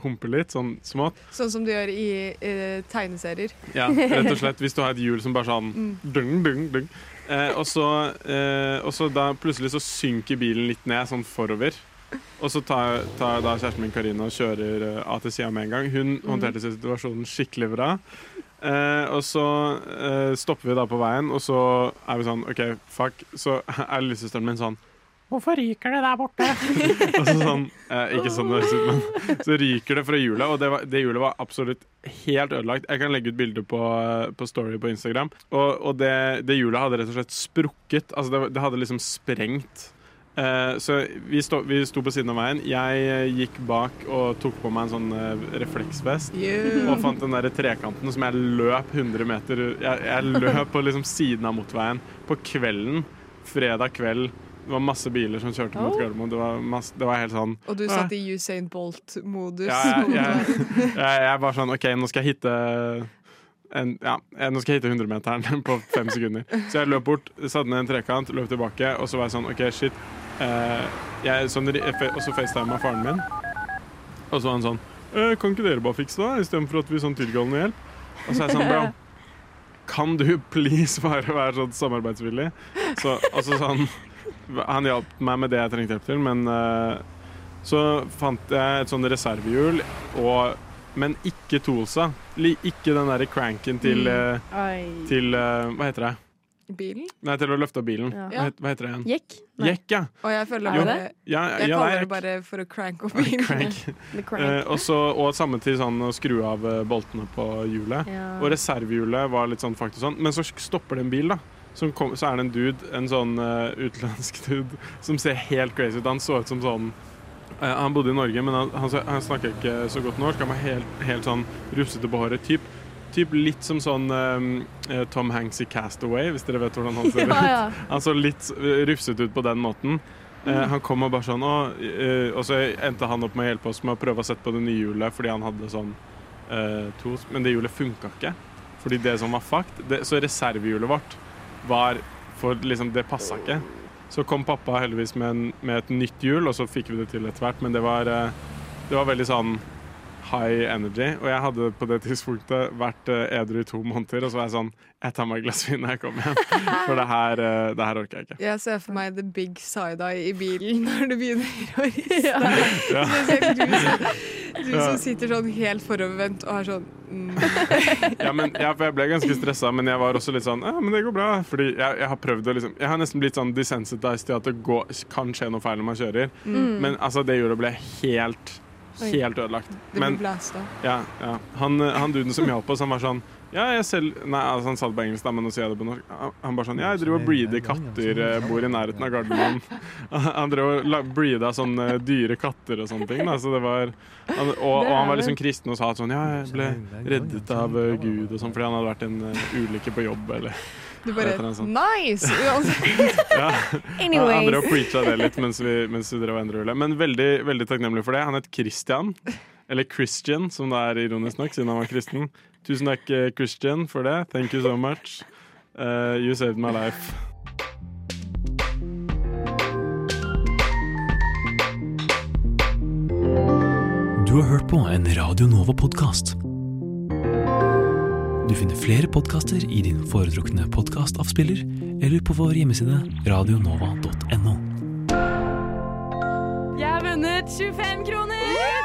humpe litt, sånn smått. Sånn som du gjør i eh, tegneserier. Ja, rett og slett. Hvis du har et hjul som bare sånn Mm. dung, dung, dung. Eh, og, så, eh, og så da plutselig så synker bilen litt ned, sånn forover. Og så tar, tar da kjæresten min Karina og kjører eh, av til sida med en gang. Hun håndterte situasjonen skikkelig bra. Eh, og så eh, stopper vi da på veien, og så er vi sånn OK, fuck. Så er lillesøsteren min sånn Hvorfor ryker det der borte? og så sånn, eh, ikke sånn det høres ut, men så ryker det fra hjulet, og det, var, det hjulet var absolutt helt ødelagt. Jeg kan legge ut bilder på, eh, på Story på Instagram. Og, og det, det hjulet hadde rett og slett sprukket. Altså, det, var- det hadde liksom sprengt. Eh, så vi sto, vi sto på siden av veien. Jeg eh, gikk bak og tok på meg en sånn eh, refleksvest. Yeah. Og fant den der trekanten som jeg løp 100 meter Jeg, jeg løp på liksom siden av motorveien på kvelden. Fredag kveld. Det var masse biler som kjørte mot Oh. Gardermoen. Det var, masse, det var helt sånn Og du satt i Usain Bolt-modus. ja, jeg, jeg, jeg, jeg var sånn OK, nå skal jeg hitte en, ja, eh, nå skal jeg hitte 100-meteren på fem sekunder. Så jeg løp bort, satte ned en trekant, løp tilbake, og så var jeg sånn OK, shit. Eh, jeg, sånn, ri- jeg fe- og så facetima faren min, og så var han sånn eh, Kan ikke dere bare fikse det, istedenfor at vi sånn tilkallende hjelp? Og så er jeg sånn, bro, kan du please bare være sånn samarbeidsvillig? Så, altså sånn, han hjalp meg med det jeg trengte hjelp til, men eh, Så fant jeg et sånn reservehjul, og, men ikke toolsa. Li- Ikke den derre cranken til, Mm. eh, Ai. til eh, Hva heter det? Bilen? Nei, til å løfte av bilen. Ja. Hva, het- hva heter det igjen? Jekk? Nei. Jekk, ja. Og jeg føler Jo. bare Ja, Jeg ja, kaller det er det bare for å crank opp bilen. Crank. The crank. Eh, og så- og samme til sånn å skru av eh, boltene på hjulet. Ja. Og reservehjulet var litt sånn faktisk sånn. Men så stopper det en bil, da. Som kom, så er det en dude, en sånn eh, utenlandsk dude, som ser helt crazy ut. Han så ut som sånn eh, Han bodde i Norge, men han, han, så- han snakker ikke så godt norsk. Han var helt, helt sånn rufsete på håret. Typ, typ litt som sånn eh, eh, Tom Hanks i Castaway, hvis dere vet hvordan han ser Ja, ja. ut. Han så litt eh, rufset ut på den måten. Eh, Mm. han kom og bare sånn «Å», eh, Og så endte han opp med å hjelpe oss med å prøve å sette på det nye hjulet fordi han hadde sånn eh, to Men det hjulet funka ikke. Fordi det som var fucked det, Så reservehjulet vårt var for liksom Det passa ikke. Så kom pappa heldigvis med, en, med et nytt hjul, og så fikk vi det til etter hvert, men det var, eh, det var veldig sånn high energy. Og jeg hadde på det tidspunktet vært eh, edru i to måneder, og så var jeg sånn Jeg tar meg et glass vin når jeg kommer hjem, for det her, eh, det her orker jeg ikke. Jeg ser for meg the big side-eye i bilen når du begynner å riste. Ja. Så jeg ser Du, som, du Ja. som sitter sånn helt forovervendt og har sånn mm. ja, men, ja, for jeg ble ganske stressa, men jeg var også litt sånn Ja, men det går bra. Fordi jeg, jeg har prøvd å liksom Jeg har nesten blitt sånn desensitized til at det går, kan skje noe feil når man kjører. Mm. Men altså, det hjulet ble helt, Oi. helt ødelagt. Det blir Men blæsta. ja, ja. Han, eh, han duden som hjalp oss, han var sånn ja, jeg selv, nei, altså Han sa det på engelsk, da, men nå sier jeg det på norsk. Han- Han bare sånn Ja, jeg driver og breeder katter, eh, bor i nærheten av Gardermoen. Han drev og la- breeda sånne dyre katter og sånne ting. Da, så det var, han, og, og han var liksom kristen og sa at sånn Ja, jeg ble reddet av eh, Gud og sånn fordi han hadde vært i en eh, ulykke på jobb eller Du et bare eller annet sånt. Nice! Uansett. sånn? Ja. Anyways. Han drev og preacha det litt mens vi, mens vi drev og endret hjulet. Men veldig, veldig takknemlig for det. Han het Christian, eller Christian, som det er ironisk nok, siden han var kristen. Tusen takk, eh, Christian, for det. Thank you so much. Eh, you saved my life. Du har hørt på en Radio Nova-podkast. Du finner flere podkaster i din foretrukne podkastavspiller eller på vår hjemmeside radionova.no. Jeg har vunnet 25 kroner!